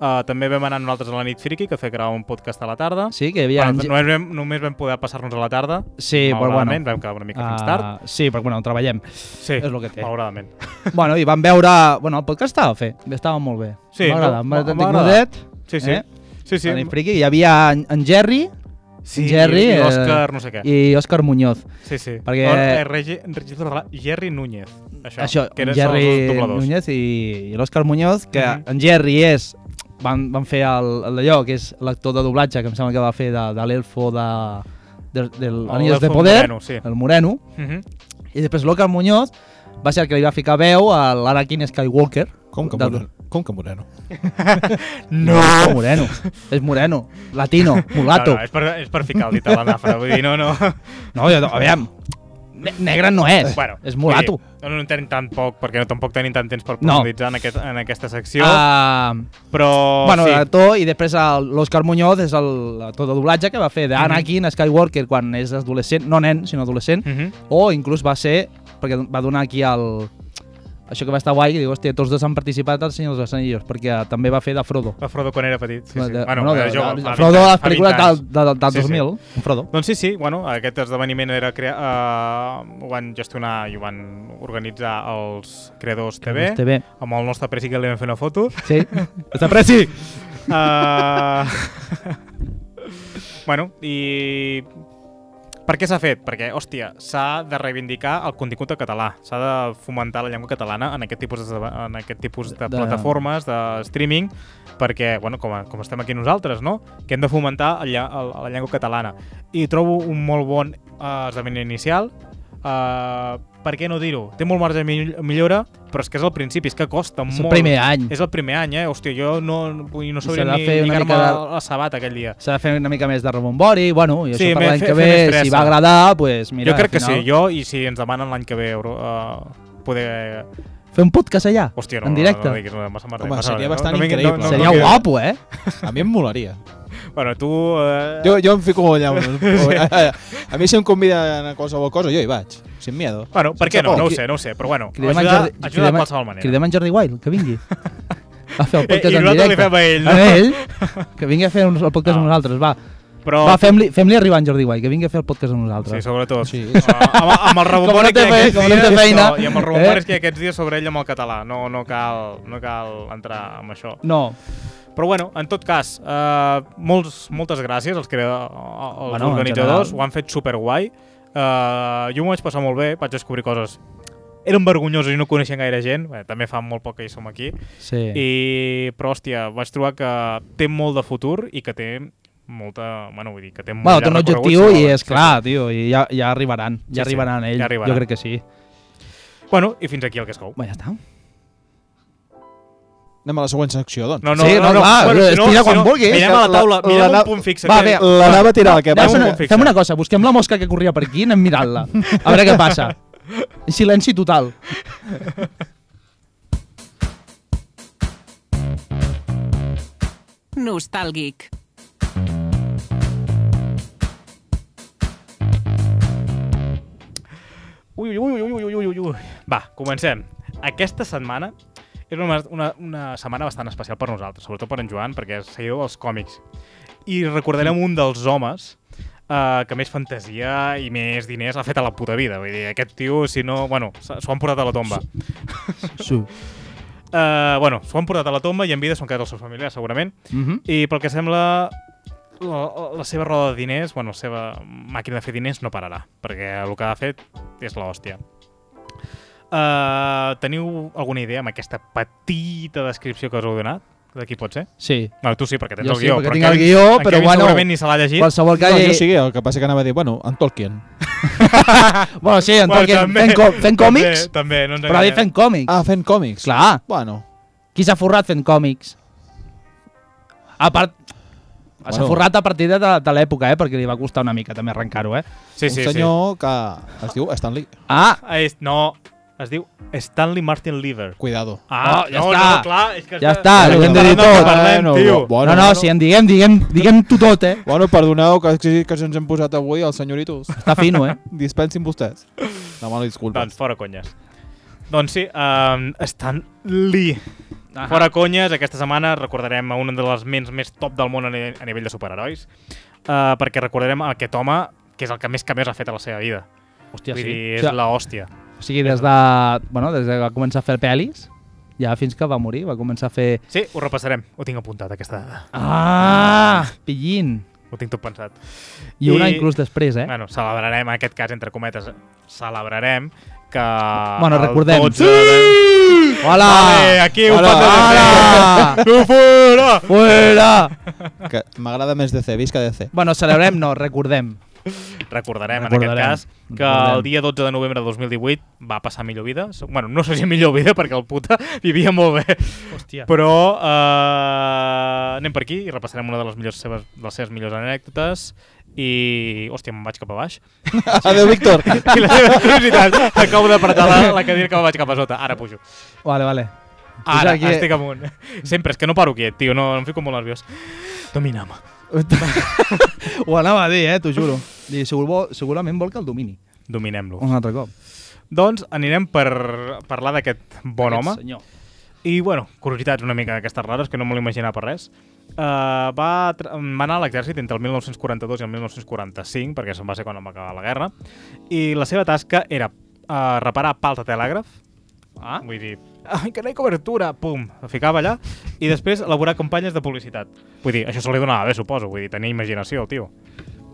Speaker 3: Uh, també vam anar nosaltres a la nit friki, que feia gravar un podcast a la tarda.
Speaker 2: Sí, que hi havia...
Speaker 3: Bueno, només, vam, només vam poder passar-nos a la tarda.
Speaker 2: Sí, però bueno.
Speaker 3: malauradament, vam quedar una mica fins
Speaker 2: ah,
Speaker 3: tard.
Speaker 2: sí, però bueno, treballem.
Speaker 3: Sí,
Speaker 2: és lo que té.
Speaker 3: malauradament.
Speaker 2: bueno, i vam veure... Bueno, el podcast estava fer, estava molt bé.
Speaker 3: Sí,
Speaker 2: m'agrada,
Speaker 3: no,
Speaker 2: m'ha
Speaker 3: m'ha agradat.
Speaker 2: agradat.
Speaker 3: Sí, sí.
Speaker 2: Eh?
Speaker 3: Eh? Sí, sí.
Speaker 2: Sí. Friki, hi havia en, en Jerry
Speaker 3: sí
Speaker 2: Jerry,
Speaker 3: i
Speaker 2: eh,
Speaker 3: l'Òscar, no sé què.
Speaker 2: i Òscar Muñoz.
Speaker 3: Sí, sí.
Speaker 2: Perquè-
Speaker 3: No, eh, Regi, Regi, Jerry Núñez. Això,
Speaker 2: Això,
Speaker 3: que eren
Speaker 2: en Jerry
Speaker 3: els dobladors.
Speaker 2: Núñez i, i l'Òscar Muñoz, que
Speaker 3: Mhm.
Speaker 2: en Jerry és... Van, van fer el- el d'allò, que és l'actor de doblatge, que em sembla que va fer de, de l'elfo de, de, del
Speaker 3: El
Speaker 2: Anillos de
Speaker 3: elfo
Speaker 2: Poder,
Speaker 3: moreno, sí.
Speaker 2: el Moreno,
Speaker 3: Uh -huh.
Speaker 2: i després l'Òscar Muñoz va ser el que li va ficar veu a l'Anakin Skywalker.
Speaker 4: Com que,
Speaker 2: Del-
Speaker 4: Moreno? Com que Moreno?
Speaker 2: No! Moreno. És moreno. Latino. Mulato.
Speaker 3: No, no, és, per, és per ficar el dit a la nafra, vull dir, no, no.
Speaker 2: No, jo, a veure, ne negre no és. Bueno, és mulato.
Speaker 3: vull dir, No, no tenim tan poc, perquè no, tampoc tenim tant temps per
Speaker 2: No.
Speaker 3: profunditzar no. en, aquest, en aquesta secció, uh,
Speaker 2: Ah,
Speaker 3: però
Speaker 2: bueno,
Speaker 3: Oh,
Speaker 2: eh,
Speaker 3: sí,
Speaker 2: l'actor i després el- l'Òscar Muñoz és el- l'actor de doblatge que va fer d'Anakin Skywalker quan és adolescent, no nen, sinó adolescent,
Speaker 3: Mhm.
Speaker 2: o inclús va ser, perquè va donar aquí el... Això que va estar guai, que diu, hòstia, tots dos han participat al Senyor dels Anillos, perquè també va fer de Frodo.
Speaker 3: la Frodo quan era petit. Sí, sí.
Speaker 2: De,
Speaker 3: bueno,
Speaker 2: no, de,
Speaker 3: era jove,
Speaker 2: de,
Speaker 3: fa
Speaker 2: de eh, Frodo, de
Speaker 3: 20
Speaker 2: les
Speaker 3: anys, fa 20
Speaker 2: pel·lícules del, del,
Speaker 3: anys.
Speaker 2: del
Speaker 3: Sí, sí.
Speaker 2: 2000, un Frodo.
Speaker 3: Doncs sí, sí, bueno, aquest esdeveniment era crea... uh, ho van gestionar i ho van organitzar els Creadors TV,
Speaker 2: Creadors TV.
Speaker 3: amb el nostre presi que li vam fer una foto.
Speaker 2: Sí. Està presi! Ah.
Speaker 3: Uh... bueno, i... Per què s'ha fet? Perquè, hòstia, s'ha de reivindicar el contingut en català, s'ha de fomentar la llengua catalana en aquest tipus de, en aquest tipus de,
Speaker 2: De-
Speaker 3: plataformes, de streaming, perquè, bueno, com, a, com estem aquí nosaltres, no? Que hem de fomentar el, lla- el, la llengua catalana. I trobo un molt bon uh, esdeveniment inicial, uh, per què no dir-ho? Té molt marge de mill- millora, però és que és el principi, és que costa
Speaker 2: És
Speaker 3: molt.
Speaker 2: el primer any.
Speaker 3: És el primer any, eh? Hòstia, jo no, vull dir, no sabria
Speaker 2: S'ha de
Speaker 3: ni
Speaker 2: fer una
Speaker 3: lligar-me
Speaker 2: mica
Speaker 3: de...
Speaker 2: de-
Speaker 3: la sabata aquell dia.
Speaker 2: S'ha de fer una mica més de rebombori, bueno, i això
Speaker 3: Sí,
Speaker 2: per
Speaker 3: més
Speaker 2: l'any
Speaker 3: fer-
Speaker 2: que
Speaker 3: fer
Speaker 2: ve,
Speaker 3: més
Speaker 2: si
Speaker 3: fresa.
Speaker 2: va agradar, pues, mira,
Speaker 3: jo crec
Speaker 2: al
Speaker 3: que sí,
Speaker 2: final,
Speaker 3: jo, i si ens demanen l'any que ve uh, poder...
Speaker 2: Fer un podcast allà,
Speaker 3: Hòstia, no,
Speaker 2: en directe.
Speaker 3: no, no diguis, no, massa merda,
Speaker 4: Home,
Speaker 3: massa
Speaker 4: seria
Speaker 3: merda.
Speaker 4: bastant
Speaker 3: no, vinguis-
Speaker 4: increïble.
Speaker 2: Seria
Speaker 3: vinguis-
Speaker 2: guapo, eh?
Speaker 4: A mi em molaria.
Speaker 3: Bueno, tu... Uh,
Speaker 4: Jo, jo em fico allà. Un... A mi si em conviden a qualsevol cosa, jo hi vaig. Sin miedo.
Speaker 3: Bueno, per què
Speaker 4: Sense
Speaker 3: no?
Speaker 4: por.
Speaker 3: No ho sé, no ho sé, però bueno,
Speaker 2: Cridem en
Speaker 3: ajudar,
Speaker 2: Jordi-
Speaker 3: ajudar
Speaker 2: cridem
Speaker 3: de
Speaker 2: en-
Speaker 3: qualsevol manera.
Speaker 2: Cridem en Jordi Wild, que vingui. A fer el
Speaker 3: Eh,
Speaker 2: podcast
Speaker 3: i
Speaker 2: en
Speaker 3: nosaltres li
Speaker 2: directe.
Speaker 3: fem a ell, no?
Speaker 2: A ell, que vingui a fer uns- el podcast
Speaker 3: No.
Speaker 2: amb nosaltres, va.
Speaker 3: Però...
Speaker 2: Va, fem-li fem arribar en Jordi Wild, que vingui a fer el podcast amb nosaltres.
Speaker 3: Sí, sobretot.
Speaker 4: Sí.
Speaker 3: Uh, amb, amb el
Speaker 2: Com no
Speaker 3: rebombori
Speaker 2: té
Speaker 3: que hi ha
Speaker 2: fe-
Speaker 3: aquests
Speaker 2: com no té
Speaker 3: dies,
Speaker 2: feina.
Speaker 3: no, i amb el rebombori
Speaker 2: Eh?
Speaker 3: que hi ha aquests dies sobre ell amb el català. No, no, cal, no cal entrar amb això.
Speaker 2: No,
Speaker 3: Però bueno, en tot cas, eh, molts, moltes gràcies als, crea als
Speaker 2: Bueno,
Speaker 3: bueno,
Speaker 2: en
Speaker 3: organitzadors,
Speaker 2: general.
Speaker 3: ho han fet superguai. Eh, jo m'ho vaig passar molt bé, vaig descobrir coses eren vergonyosos i no coneixien gaire gent, Bé, també fa molt poc que hi som aquí,
Speaker 2: sí.
Speaker 3: i, però hòstia, vaig trobar que té molt de futur i que té molta... Bueno, vull dir, que té molt
Speaker 2: Bueno,
Speaker 3: llarg
Speaker 2: té un
Speaker 3: recorregut,
Speaker 2: objectiu
Speaker 3: si
Speaker 2: i
Speaker 3: volen.
Speaker 2: és clar, tio, i ja, ja arribaran, ja
Speaker 3: Sí, sí,
Speaker 2: arribaran ells,
Speaker 3: ja arribaran.
Speaker 2: jo crec que sí.
Speaker 3: Sí. Bueno, i fins aquí el que es cou.
Speaker 2: Va, ja està.
Speaker 4: Anem a la següent secció, doncs.
Speaker 3: No,
Speaker 2: Sí, no, clar,
Speaker 3: si
Speaker 2: estira
Speaker 3: si
Speaker 2: quan vulguis.
Speaker 3: Mirem a la taula,
Speaker 2: La-
Speaker 3: mirem
Speaker 2: la-
Speaker 3: un punt eh? fixe.
Speaker 2: va,
Speaker 3: que-
Speaker 2: bé,
Speaker 4: L'anava a tirar, el que
Speaker 2: Anem
Speaker 3: un
Speaker 4: passa...
Speaker 2: una-
Speaker 3: punt fixe.
Speaker 2: fem una cosa, busquem la mosca que corria per aquí, anem mirant-la, a veure què passa. Silenci total.
Speaker 1: Nostàlgic.
Speaker 3: Ui, ui, ui, ui, ui, ui, ui, ui. Va, comencem. Aquesta setmana és una, una, una setmana bastant especial per nosaltres, sobretot per en Joan, perquè és seguidor dels còmics. I recordarem un dels homes eh, que més fantasia i més diners ha fet a la puta vida. Vull dir, aquest tio, si no... Bueno, s- s'ho han portat a la tomba.
Speaker 2: Su.
Speaker 3: Eh, bueno, s'ho han portat a la tomba i en vida són quedat els seus familiars, segurament.
Speaker 2: Mhm.
Speaker 3: I pel que sembla, la, la seva roda de diners, bueno, la seva màquina de fer diners no pararà, perquè el que ha fet és l'hòstia. Uh, teniu alguna idea amb aquesta petita descripció que us heu donat? De qui pot ser?
Speaker 2: Sí.
Speaker 3: Bueno, tu sí, perquè tens
Speaker 2: Jo
Speaker 3: el
Speaker 2: sí,
Speaker 3: guió.
Speaker 2: perquè
Speaker 3: però
Speaker 2: tinc el
Speaker 3: Kevin-
Speaker 2: guió,
Speaker 3: en
Speaker 2: però
Speaker 3: Kevin
Speaker 2: bueno,
Speaker 3: Segurament ni se l'ha llegit.
Speaker 2: Qualsevol
Speaker 4: No,
Speaker 2: calle...
Speaker 4: jo sí, el que passa que anava a dir, bueno, en Tolkien.
Speaker 2: Bueno, sí, en
Speaker 3: Bueno,
Speaker 2: Tolkien
Speaker 3: també-
Speaker 2: fent, co- fent còmics,
Speaker 3: També, també no ens
Speaker 2: però ha dit
Speaker 3: enganyem.
Speaker 2: fent còmics.
Speaker 4: Ah, fent còmics.
Speaker 2: Clar,
Speaker 4: Bueno,
Speaker 2: qui s'ha forrat fent còmics? A part... S'ha
Speaker 4: Bueno.
Speaker 2: forrat a partir de, de l'època, eh? Perquè li va costar una mica també arrencar-ho, eh?
Speaker 3: Sí, sí,
Speaker 4: un senyor que es diu Stanley.
Speaker 2: Ah,
Speaker 3: sí. Ah, és, no, es diu Stanley Martin Lever.
Speaker 4: Cuidado.
Speaker 2: Oh,
Speaker 3: Ah,
Speaker 2: ja
Speaker 3: no,
Speaker 2: està.
Speaker 3: no, clar, és que
Speaker 2: Ja està,
Speaker 4: ho hem de
Speaker 3: parlant
Speaker 4: dir
Speaker 3: del que
Speaker 4: tot.
Speaker 3: Parlem,
Speaker 4: Bueno,
Speaker 3: tio.
Speaker 4: bo-
Speaker 2: no, no,
Speaker 4: bueno.
Speaker 2: si en diguem, diguem, diguem-ho tot, eh?
Speaker 4: Bueno, perdoneu que, que, que ens hem posat avui els senyoritos.
Speaker 2: Està fino, eh? Doncs
Speaker 4: Dispensin vostès. Demano disculpes.
Speaker 3: Doncs fora conyes. Doncs sí, um, estan li.
Speaker 2: Ahà.
Speaker 3: Fora conyes, aquesta setmana recordarem a una de les ments més top del món a, ni a nivell de superherois, uh, perquè recordarem aquest home, que és el que més canvis ha fet a la seva vida.
Speaker 2: Hòstia,
Speaker 3: Vull
Speaker 2: sí.
Speaker 3: dir,
Speaker 2: O
Speaker 3: és
Speaker 2: sigui,
Speaker 3: la hòstia.
Speaker 2: o sigui, des de, bueno, des de que va començar a fer pel·lis, ja fins que va morir, va començar a fer...
Speaker 3: Sí, ho repassarem. Ho tinc apuntat, aquesta dada.
Speaker 2: Ah! Pillín!
Speaker 3: Ho tinc tot pensat.
Speaker 2: I una
Speaker 3: I-
Speaker 2: inclús després, eh?
Speaker 3: Bueno, celebrarem, en aquest cas, entre cometes, celebrarem que...
Speaker 2: Bueno,
Speaker 3: el
Speaker 2: recordem.
Speaker 3: 12 de-
Speaker 2: Hola!
Speaker 3: Vale, aquí ho
Speaker 2: Hola!
Speaker 3: pot
Speaker 2: Hola!
Speaker 3: No fora!
Speaker 2: Fuera!
Speaker 4: Que m'agrada més DC, visca DC.
Speaker 2: Bueno, celebrem, no, recordem.
Speaker 3: Recordarem, en
Speaker 2: Recordarem.
Speaker 3: aquest cas, que el
Speaker 2: Recordarem.
Speaker 3: dia 12 de novembre de 2018 va passar millor vida. Bueno, no sé si millor vida, perquè el puta vivia molt bé.
Speaker 2: Hòstia.
Speaker 3: Però eh, anem per aquí i repassarem una de les, millors seves, les seves millors anècdotes. I, hòstia, me'n vaig cap a baix.
Speaker 4: Adéu, Víctor.
Speaker 3: I la meva curiositat, acabo d'apretar la, la cadira que me vaig cap a sota. Ara pujo.
Speaker 2: Vale, vale.
Speaker 3: Ara,
Speaker 2: Puja aquí.
Speaker 3: estic amunt. Sempre, és que no paro quiet, tio, no, em fico molt nerviós. Domina'm.
Speaker 2: Ho anava a dir, eh, t'ho juro. I segur, vol, segurament vol que el domini.
Speaker 3: Dominem-lo.
Speaker 2: Un altre cop.
Speaker 3: Doncs anirem per parlar d'aquest bon home.
Speaker 2: Aquest senyor.
Speaker 3: I, bueno, curiositats una mica d'aquestes rares, que no me l'imaginava per res. Uh, va, tra- va anar a l'exèrcit entre el 1942 i el 1945, perquè se'n va ser quan em va acabar la guerra, i la seva tasca era uh, reparar pals de telègraf, ah? vull dir, ai, que no hi ha cobertura, pum, la ficava allà, i després elaborar campanyes de publicitat. Vull dir, això se li donava bé, suposo, vull dir, tenia imaginació, el tio.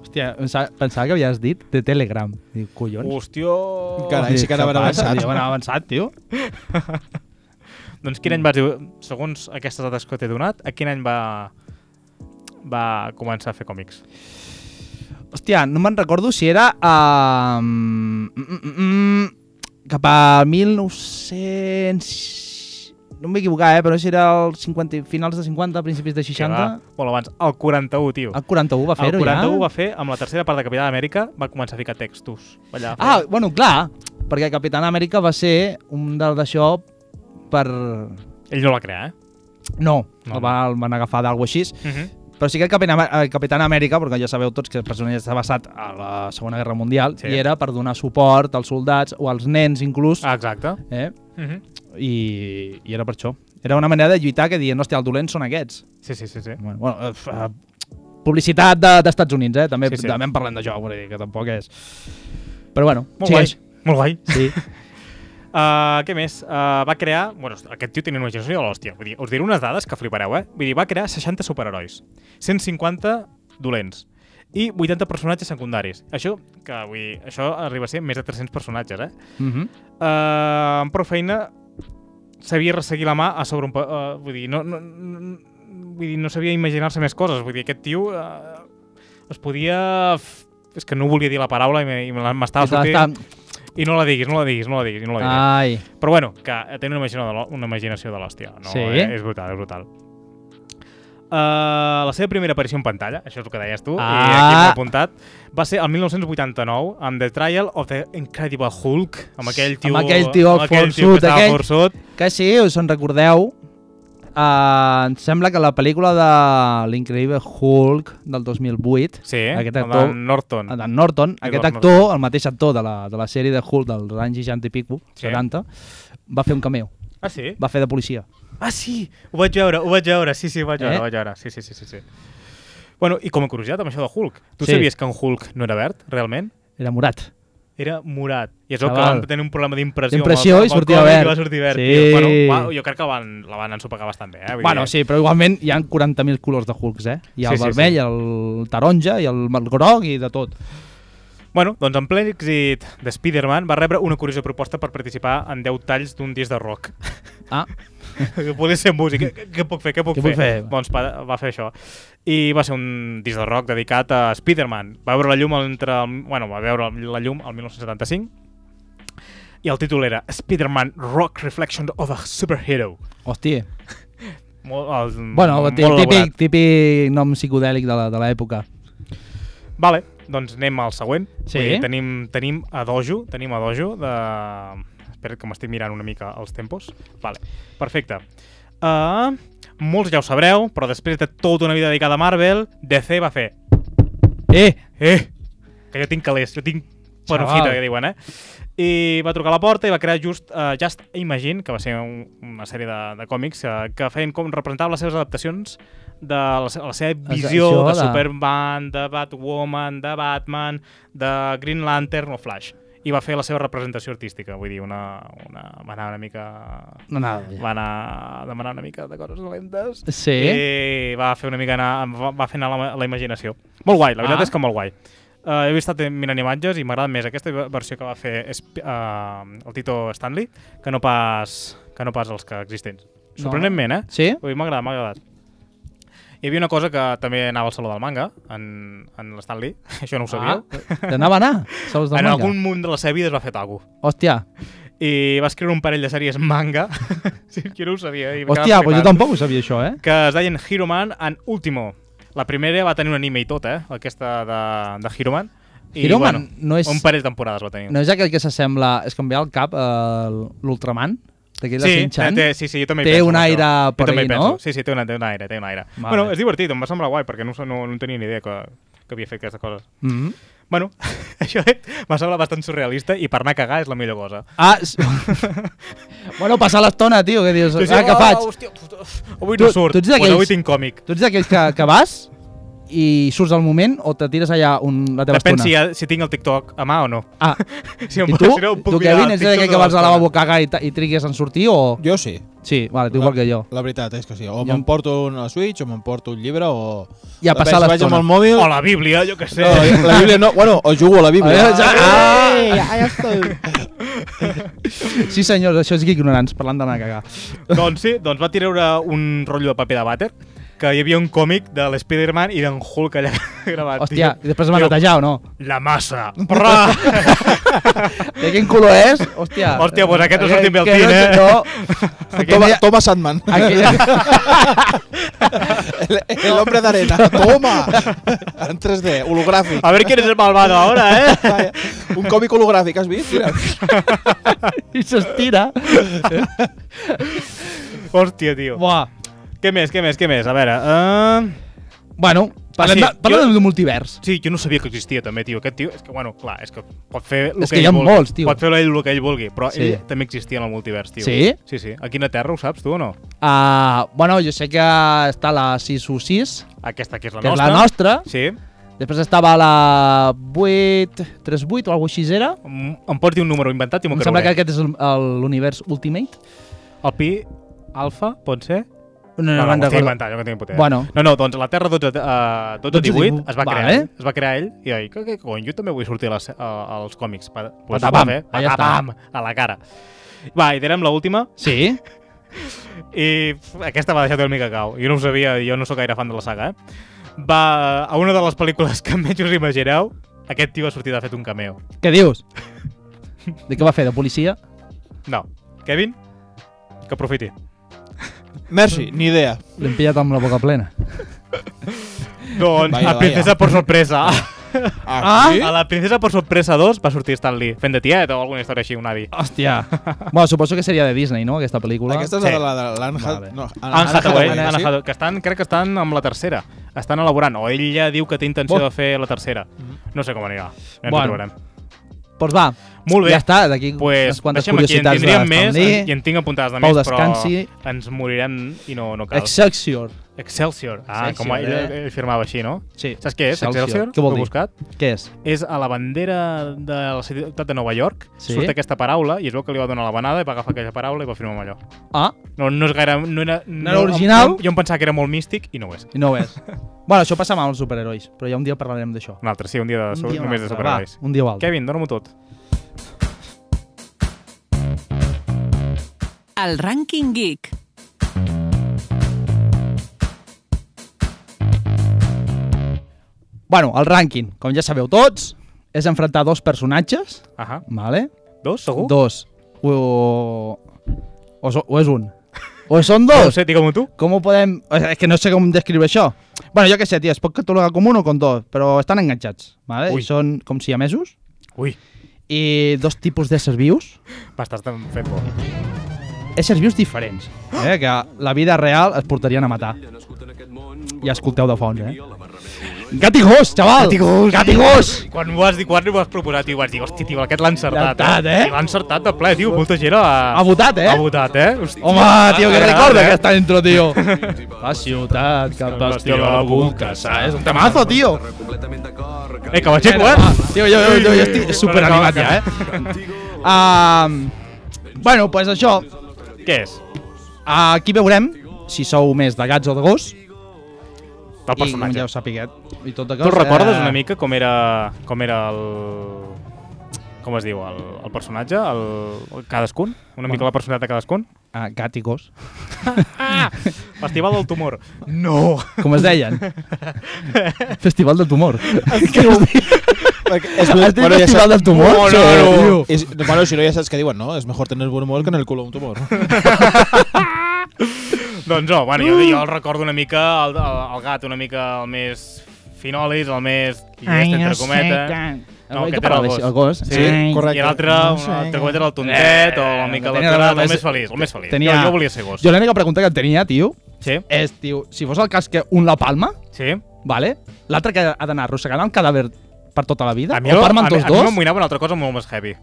Speaker 2: Hòstia, pensa- pensava que havies dit de Telegram. Dic, collons.
Speaker 3: Hòstia...
Speaker 4: Carai. sí que anaven
Speaker 2: Què passa,
Speaker 4: avançats.
Speaker 2: tio? Anaven avançat, tio.
Speaker 3: Doncs quin any vas dir, segons aquestes dates que t'he donat, a quin any va, va començar a fer còmics?
Speaker 2: Hòstia, no me'n recordo si era... Um, mm, mm, mm, cap a 1900... No em vull equivocar, eh? Però si era el 50, finals de 50, principis de 60...
Speaker 3: Que va Molt abans, el 41, tio.
Speaker 2: El 41 Ah, va fer-ho
Speaker 3: el 41
Speaker 2: ja?
Speaker 3: va fer, amb la tercera part de Capità d'Amèrica, va començar a ficar textos. Allà,
Speaker 2: Ah, bueno, clar, perquè Capitán Amèrica va ser un del d'això per...
Speaker 3: Ell no la crea, eh?
Speaker 2: No,
Speaker 3: No,
Speaker 2: no. El, va, el van agafar d'algú així.
Speaker 3: Uh -huh.
Speaker 2: Però sí que el Capitán, el Capitán Amèrica, perquè ja sabeu tots que el personatge està basat a la Segona Guerra Mundial,
Speaker 3: Sí.
Speaker 2: sí. i era per donar suport als soldats o als nens inclús, ah.
Speaker 3: Ah, exacte.
Speaker 2: eh?
Speaker 3: Uh -huh.
Speaker 2: I, i era per això. Era una manera de lluitar que dient, hòstia, el dolent són aquests.
Speaker 3: Sí, sí, sí. sí.
Speaker 2: Bueno, bueno, eh, f- eh, publicitat de- d'Estats de, Units, eh? També,
Speaker 3: Sí,
Speaker 2: sí,
Speaker 3: sí.
Speaker 2: sí. també en parlem d'això, vull dir, que tampoc és... Però bueno,
Speaker 3: Molt guai. Molt guai.
Speaker 2: Sí.
Speaker 3: Uh, què més? Uh, va crear... Bueno, aquest tio tenia una imaginació de l'hòstia. Vull dir, us diré unes dades que flipareu, eh? Vull dir, va crear 60 superherois, 150 dolents i 80 personatges secundaris. Això, que vull dir, això arriba a ser més de 300 personatges, eh?
Speaker 2: Mm -hmm.
Speaker 3: eh, amb prou feina sabia resseguir la mà a sobre un... Uh, vull dir, no, no, no, vull dir, no sabia imaginar-se més coses. Vull dir, aquest tio uh, es podia... f- És que no volia dir la paraula i me- i me la- m'estava sortint. I no la diguis, no la diguis, no la diguis, no la diguis.
Speaker 2: Ai,
Speaker 3: Però bueno, que té una imaginació de l'hò- una imaginació de l'hòstia. No,
Speaker 2: Sí?
Speaker 3: eh? És brutal, és brutal. Uh, la seva primera aparició en pantalla, això és el que deies tu, i
Speaker 2: Ah.
Speaker 3: aquí m'ho he apuntat, va ser el 1989 amb The Trial of the Incredible Hulk, amb aquell tio,
Speaker 2: Amb aquell tio
Speaker 3: amb aquell tio
Speaker 2: forçut,
Speaker 3: que estava
Speaker 2: aquell-
Speaker 3: forçut.
Speaker 2: que sí, us en recordeu, eh, em sembla que la pel·lícula de l'Increïble Hulk del 2008,
Speaker 3: Sí,
Speaker 2: Aquest
Speaker 3: el
Speaker 2: actor-
Speaker 3: de Norton.
Speaker 2: d'en Norton, aquest
Speaker 3: Edward
Speaker 2: actor, el mateix actor de la, de la sèrie de Hulk dels anys 60 i pico,
Speaker 3: Sí.
Speaker 2: 70, va fer un cameo,
Speaker 3: Ah, sí?
Speaker 2: va fer de policia.
Speaker 3: Ah, sí! Ho vaig veure, ho vaig veure, sí, sí, ho vaig veure,
Speaker 2: Eh?
Speaker 3: ho vaig veure, sí, sí, sí, sí. sí. Bueno, i com a curiositat amb això de Hulk, tu
Speaker 2: Sí.
Speaker 3: sabies que en Hulk no era verd, realment?
Speaker 2: Era morat.
Speaker 3: era morat. I és el que
Speaker 2: Cabal.
Speaker 3: van tenir un problema d'impressió.
Speaker 2: D'impressió
Speaker 3: amb el-
Speaker 2: i
Speaker 3: amb el
Speaker 2: sortia
Speaker 3: còmic
Speaker 2: verd.
Speaker 3: I va sortir verd.
Speaker 2: Sí.
Speaker 3: tio. Bueno, va, jo crec que van, la van ensopegar bastant bé. Eh? Vull
Speaker 2: Bueno,
Speaker 3: dir,
Speaker 2: sí, però igualment hi ha 40.000 colors de Hulks, eh? Hi ha
Speaker 3: Sí,
Speaker 2: el
Speaker 3: sí,
Speaker 2: vermell,
Speaker 3: sí.
Speaker 2: el taronja, i el groc i de tot.
Speaker 3: Bueno, doncs en ple èxit de Spider-Man va rebre una curiosa proposta per participar en 10 talls d'un disc de rock.
Speaker 2: Ah,
Speaker 3: que podia ser músic. Què, què puc fer? Què puc
Speaker 2: Què
Speaker 3: fer?
Speaker 2: puc fer?
Speaker 3: Doncs va, va fer això. I va ser un disc de rock dedicat a Spider-Man. Va veure la llum entre... El, bueno, va veure la llum el 1975 i el títol era Spider-Man Rock Reflection of a Superhero.
Speaker 2: hòstia.
Speaker 3: Molt, el,
Speaker 2: Bueno,
Speaker 3: Mm, molt elaborat.
Speaker 2: típic, típic nom psicodèlic de la- de l'època.
Speaker 3: Vale, doncs anem al següent.
Speaker 2: Sí.
Speaker 3: Vull dir, Tenim, tenim a Dojo, tenim a Dojo de... Espera que m'estic mirant una mica els tempos. Vale, perfecte. Uh, molts ja ho sabreu, però després de tota una vida dedicada a Marvel, DC va fer...
Speaker 2: Eh,
Speaker 3: Eh! Que jo tinc calés, jo tinc Pornofita,
Speaker 2: Xaval.
Speaker 3: que diuen, eh? I va trucar a la porta i va crear just uh, Just Imagine, que va ser un, una sèrie de, de còmics que, que feien com representava les seves adaptacions de la, se- la seva visió
Speaker 2: això
Speaker 3: de
Speaker 2: de-
Speaker 3: Superman, de Batwoman, de Batman, de Green Lantern o Flash. I va fer la seva representació artística, vull dir, una, una, va anar una mica...
Speaker 2: No, nada, ja.
Speaker 3: Va anar a demanar una mica de coses Eh, dolentes.
Speaker 2: Sí.
Speaker 3: I va fer una mica anar, va- va fer anar la, la imaginació. Molt guai, la veritat
Speaker 2: Ah.
Speaker 3: és que molt guai. Uh, he vist estat mirant imatges i m'agrada més aquesta versió que va fer Sp- uh, el Tito Stanley que no pas, que no pas els que existents.
Speaker 2: No.
Speaker 3: Sorprenentment, eh?
Speaker 2: Sí?
Speaker 3: Vull dir, m'ha agradat, m'ha agradat. Hi havia una cosa que també anava al Saló del Manga, en, en l'Stanley, això no ho sabíeu.
Speaker 2: Ah, T'anava a anar? Sols de
Speaker 3: en
Speaker 2: manga?
Speaker 3: algun munt de la seva vida es va fer taco.
Speaker 2: Hòstia,
Speaker 3: I va escriure un parell de sèries manga. sí, jo no ho sabia. I m'acaba
Speaker 2: hòstia, pues jo
Speaker 3: flipant
Speaker 2: tampoc ho sabia això, eh?
Speaker 3: que es deien Hero Man and Ultimo. La primera va tenir un anime i tot, eh? Aquesta de, de Hero Man. I,
Speaker 2: Hero Man no és-
Speaker 3: Un parell de temporades va tenir.
Speaker 2: No és aquell que s'assembla... És canviar el cap a l'Ultraman? D'aquell de
Speaker 3: sí,
Speaker 2: Shin-Chan?
Speaker 3: té, sí, sí, jo també hi
Speaker 2: Té
Speaker 3: penso,
Speaker 2: un
Speaker 3: en això.
Speaker 2: aire
Speaker 3: Jo
Speaker 2: per
Speaker 3: també
Speaker 2: ahí,
Speaker 3: hi penso.
Speaker 2: no?
Speaker 3: Sí, sí, té un, té un aire, té un aire.
Speaker 2: Vale.
Speaker 3: Bueno, és divertit, em va semblar guai, perquè no, no, no tenia ni idea que, que havia fet aquestes coses.
Speaker 2: Mm -hmm.
Speaker 3: Bueno, això eh, m'ha semblat bastant surrealista i per anar a cagar és la millor cosa.
Speaker 2: Ah, s- bueno, passar l'estona, tio, que dius... ah, què faig?
Speaker 3: oh, Hòstia, uf, avui
Speaker 2: Tu-
Speaker 3: no surt,
Speaker 2: tu ets
Speaker 3: doncs
Speaker 2: d'aquells-
Speaker 3: avui tinc còmic.
Speaker 2: Tu ets d'aquells que, que vas i surts al moment o te tires allà un, la teva
Speaker 3: Depèn si,
Speaker 2: estona?
Speaker 3: ha- si tinc el TikTok a mà o no.
Speaker 2: Ah,
Speaker 3: Si em
Speaker 2: i
Speaker 3: puc-
Speaker 2: tu,
Speaker 3: si no em puc
Speaker 2: tu
Speaker 3: mirar
Speaker 2: Kevin,
Speaker 3: el
Speaker 2: ets d'aquell
Speaker 3: TikTok
Speaker 2: que vas
Speaker 3: de
Speaker 2: a la
Speaker 3: l'estona.
Speaker 2: lavabo a cagar i, ta- i trigues en sortir o...
Speaker 4: Jo sí.
Speaker 2: Sí, vale, tu igual que jo.
Speaker 4: La veritat és que sí. O
Speaker 2: Jo-
Speaker 4: m'emporto una Switch, o m'emporto un llibre, o...
Speaker 2: I a
Speaker 4: Depèn,
Speaker 2: passar
Speaker 4: si Vaig amb
Speaker 2: l'estona.
Speaker 4: el mòbil...
Speaker 3: O la Bíblia, jo què sé.
Speaker 4: No, la, la Bíblia no. Bueno, o jugo a la Bíblia.
Speaker 2: Ah, ja-
Speaker 4: Ei, ja Eh, estoy.
Speaker 2: Sí, senyors, això és Geek Ignorants, parlant d'anar a cagar.
Speaker 3: doncs sí, doncs va treure un rotllo de paper de vàter que hi havia un còmic de l'Spider-Man i d'en Hulk allà gravat.
Speaker 2: Hòstia, i
Speaker 3: tio.
Speaker 2: després va
Speaker 3: Diu,
Speaker 2: netejar o no?
Speaker 3: La massa. Prà!
Speaker 2: De quin color és? Hòstia.
Speaker 3: Hòstia, pues aquest no sortim bé al
Speaker 2: Que no-
Speaker 3: tint, eh?
Speaker 2: No,
Speaker 4: Toma, toma Sandman.
Speaker 2: aquella,
Speaker 4: El, el hombre de arena. Toma. En 3D, hologràfic.
Speaker 3: A veure quién és el malvado ahora, eh?
Speaker 4: Vaya, Un còmic hologràfic, has vist? Mira.
Speaker 2: I s'estira.
Speaker 3: Hòstia, tio.
Speaker 2: Buah.
Speaker 3: Què més, què més, què més? A veure... Uh...
Speaker 2: Bueno, parlem,
Speaker 3: Ah,
Speaker 2: ah,
Speaker 3: sí,
Speaker 2: sí, parlem
Speaker 3: jo-
Speaker 2: de multivers.
Speaker 3: Sí, jo no sabia que existia també, tio. Aquest tio, és que, bueno, clar, és que pot fer el
Speaker 2: És
Speaker 3: que,
Speaker 2: que hi
Speaker 3: ell
Speaker 2: ha
Speaker 3: vulgui.
Speaker 2: molts, tio.
Speaker 3: Pot fer ell el que ell vulgui, però
Speaker 2: Sí.
Speaker 3: ell també existia en el multivers, tio.
Speaker 2: Sí?
Speaker 3: Sí, sí. A quina terra ho saps, tu o no?
Speaker 2: Uh, bueno, jo sé que està la 616,
Speaker 3: Aquesta que és la
Speaker 2: que és
Speaker 3: nostra.
Speaker 2: la nostra.
Speaker 3: Sí.
Speaker 2: Després estava la 838 o alguna així era.
Speaker 3: Em Mm, em pots dir un número inventat i m'ho
Speaker 2: Em
Speaker 3: creuré.
Speaker 2: sembla que aquest és el- el- l'univers Ultimate.
Speaker 3: El pi alfa, pot ser?
Speaker 2: No,
Speaker 3: No,
Speaker 2: me'n
Speaker 3: no, no
Speaker 2: recordo.
Speaker 3: estic inventant, jo que tinc puta.
Speaker 2: Bueno.
Speaker 3: No, no, doncs la Terra 12, uh, 12,
Speaker 2: 12,
Speaker 3: 18 es va
Speaker 2: vale.
Speaker 3: crear, ell, es va crear ell, i ell, que, que cony, jo també vull sortir a les, a, als còmics. Pa, pues ho va
Speaker 2: Patapam,
Speaker 3: fer,
Speaker 2: allà està.
Speaker 3: patapam, a la cara. Va, i direm l'última,
Speaker 2: Sí,
Speaker 3: i pf, aquesta va deixar una mica cau. Jo no ho sabia, jo no sóc gaire fan de la saga, eh? Va, a una de les pel·lícules que menys us imagineu, aquest tio ha sortit ha fet un cameo.
Speaker 2: què dius? De què va fer, de policia?
Speaker 3: No. Kevin, que aprofiti.
Speaker 4: Merci, ni idea.
Speaker 2: L'hem pillat amb la boca plena.
Speaker 3: Doncs
Speaker 4: Vaya,
Speaker 3: a Princesa
Speaker 4: vaya.
Speaker 3: per sorpresa.
Speaker 4: Ah, sí?
Speaker 3: A la Princesa per sorpresa 2 va sortir Stan Lee fent de tiet o alguna història així, un avi.
Speaker 2: Hòstia. bueno, suposo que seria de Disney, no?, aquesta pel·lícula.
Speaker 4: Aquesta és
Speaker 3: Sí.
Speaker 4: la de la- l'Anne
Speaker 2: Vale.
Speaker 4: Hath- no,
Speaker 3: Anne
Speaker 4: Anne
Speaker 3: Hathaway,
Speaker 4: Hathaway,
Speaker 3: Anne
Speaker 4: sí?
Speaker 3: Hathaway, que estan, crec que estan amb la tercera. Estan elaborant, o ell ja diu que té intenció
Speaker 2: Bo. Mm-hmm.
Speaker 3: de fer la tercera. No sé com anirà, ja ens
Speaker 2: Bueno.
Speaker 3: ho trobarem.
Speaker 2: Doncs va.
Speaker 3: Molt bé.
Speaker 2: Ja està, d'aquí
Speaker 3: Pues,
Speaker 2: unes quantes
Speaker 3: deixem aquí, en
Speaker 2: curiositats de Stan
Speaker 3: tindríem més,
Speaker 2: Lee.
Speaker 3: en- i en tinc apuntades de
Speaker 2: Pau
Speaker 3: més,
Speaker 2: descansi.
Speaker 3: però ens morirem i no, no cal.
Speaker 2: Excelsior.
Speaker 3: Excelsior. Ah,
Speaker 2: Excelsior,
Speaker 3: com ell,
Speaker 2: eh?
Speaker 3: ell firmava així, no?
Speaker 2: Sí.
Speaker 3: Saps què és,
Speaker 2: Excelsior.
Speaker 3: Excelsior?
Speaker 2: Què vol
Speaker 3: Ho he
Speaker 2: dir?
Speaker 3: buscat?
Speaker 2: Què és?
Speaker 3: és a la bandera de la ciutat de Nova York,
Speaker 2: Sí.
Speaker 3: sí? surt aquesta paraula i es veu que li va donar la banada i va agafar aquella paraula i va firmar amb allò.
Speaker 2: Ah,
Speaker 3: No, no és gaire... No era, no,
Speaker 2: era original?
Speaker 3: Jo em pensava que era molt místic i no ho és.
Speaker 2: i no ho és. bueno, això passa amb els superherois, però ja un dia parlarem d'això.
Speaker 3: Un altre, sí, un dia, de,
Speaker 2: Un
Speaker 3: un
Speaker 2: dia o un
Speaker 3: només de
Speaker 2: altre,
Speaker 3: superherois.
Speaker 2: va, un dia o altre.
Speaker 3: Kevin, dóna-m'ho tot.
Speaker 1: El rànquing geek.
Speaker 2: Bueno, el rànquing, com ja sabeu tots, és enfrontar dos personatges,
Speaker 3: Ahà.
Speaker 2: vale?
Speaker 3: Dos, segur?
Speaker 2: Dos. O... O, so, o és un. O són
Speaker 3: No ho
Speaker 2: dos.
Speaker 3: sé, digue-m'ho eh, tu.
Speaker 2: Com ho podem... És que no sé com descriure això. Bueno, jo què sé, tia, es pot catalogar com un o com dos, però estan enganxats, vale?
Speaker 3: Ui.
Speaker 2: I són com si amesos.
Speaker 3: Ui,
Speaker 2: I dos tipus d'éssers vius.
Speaker 3: m'estàs tan fent por.
Speaker 2: Éssers vius diferents, eh? Que a la vida real es portarien a matar.
Speaker 5: Nascut en aquest món,
Speaker 2: I escolteu de fons, eh?
Speaker 5: la barra més
Speaker 2: Gat i gos, xaval!
Speaker 3: Gat i gos.
Speaker 2: Gat i gos!
Speaker 3: Quan ho has dit, quan ho has proposat, tio, vaig dir, hosti, tio, aquest l'ha encertat.
Speaker 2: L'ha encertat, eh?
Speaker 3: Tio, L'ha encertat de ple, tio, molta gent ha...
Speaker 2: Ha votat, eh?
Speaker 3: Ha votat, eh? Hosti, eh?
Speaker 2: Home, tio, que
Speaker 3: ha
Speaker 2: recorda
Speaker 3: agradat,
Speaker 2: que està dentro, tio. La ciutat, cap bastió, la punta, saps? És un temazo, tio.
Speaker 3: Eh, que m'aixeco, eh?
Speaker 2: Tio, jo, jo, jo, jo estic superanimat ja, eh? Um, bueno, doncs pues això,
Speaker 3: Què és?
Speaker 2: aquí veurem si sou més de gats o de gos.
Speaker 3: El
Speaker 2: I ja eh?
Speaker 3: personatge.
Speaker 2: ho sapiguet. I tot de
Speaker 3: Tu recordes una mica com era, com era el... Com es diu? El, el personatge? El, el cadascun? Una mica la personalitat de cadascun?
Speaker 2: Uh, gat i gos.
Speaker 3: Ah! Festival del tumor. No!
Speaker 2: Com es deien? Festival del tumor.
Speaker 4: És,
Speaker 2: Has dit festival del tumor?
Speaker 4: No, no,
Speaker 2: Sí,
Speaker 4: no.
Speaker 2: tio.
Speaker 4: És, bueno, si no ja saps què diuen, no? És mejor tener buen humor que en el culo un tumor.
Speaker 3: doncs no, bueno,
Speaker 2: Mm.
Speaker 3: jo, jo el recordo una mica, el, el, el gat una mica el més finòlis, el més llest, entre cometes.
Speaker 2: Ai,
Speaker 3: No,
Speaker 2: que
Speaker 3: aquest era
Speaker 2: parlava així, el gos.
Speaker 3: Sí,
Speaker 4: Sí, correcte.
Speaker 3: correcte. I l'altre,
Speaker 4: No sé,
Speaker 3: un altre comet era el tontet, o una mica
Speaker 2: Eh, no tenia
Speaker 3: l'altre,
Speaker 2: res.
Speaker 3: el més feliç, el més feliç.
Speaker 2: Tenia-
Speaker 3: Jo, jo volia ser gos.
Speaker 2: Jo l'única pregunta que tenia, tio,
Speaker 3: Sí,
Speaker 2: és, tio, si fos el cas que un la palma,
Speaker 3: sí.
Speaker 2: vale? l'altre que ha d'anar arrossegant el cadàver per tota la vida,
Speaker 3: A mi,
Speaker 2: o
Speaker 3: el- a,
Speaker 2: parmen
Speaker 3: mi,
Speaker 2: tots
Speaker 3: a mi
Speaker 2: dos,
Speaker 3: m'amoïnava una altra cosa molt més heavy.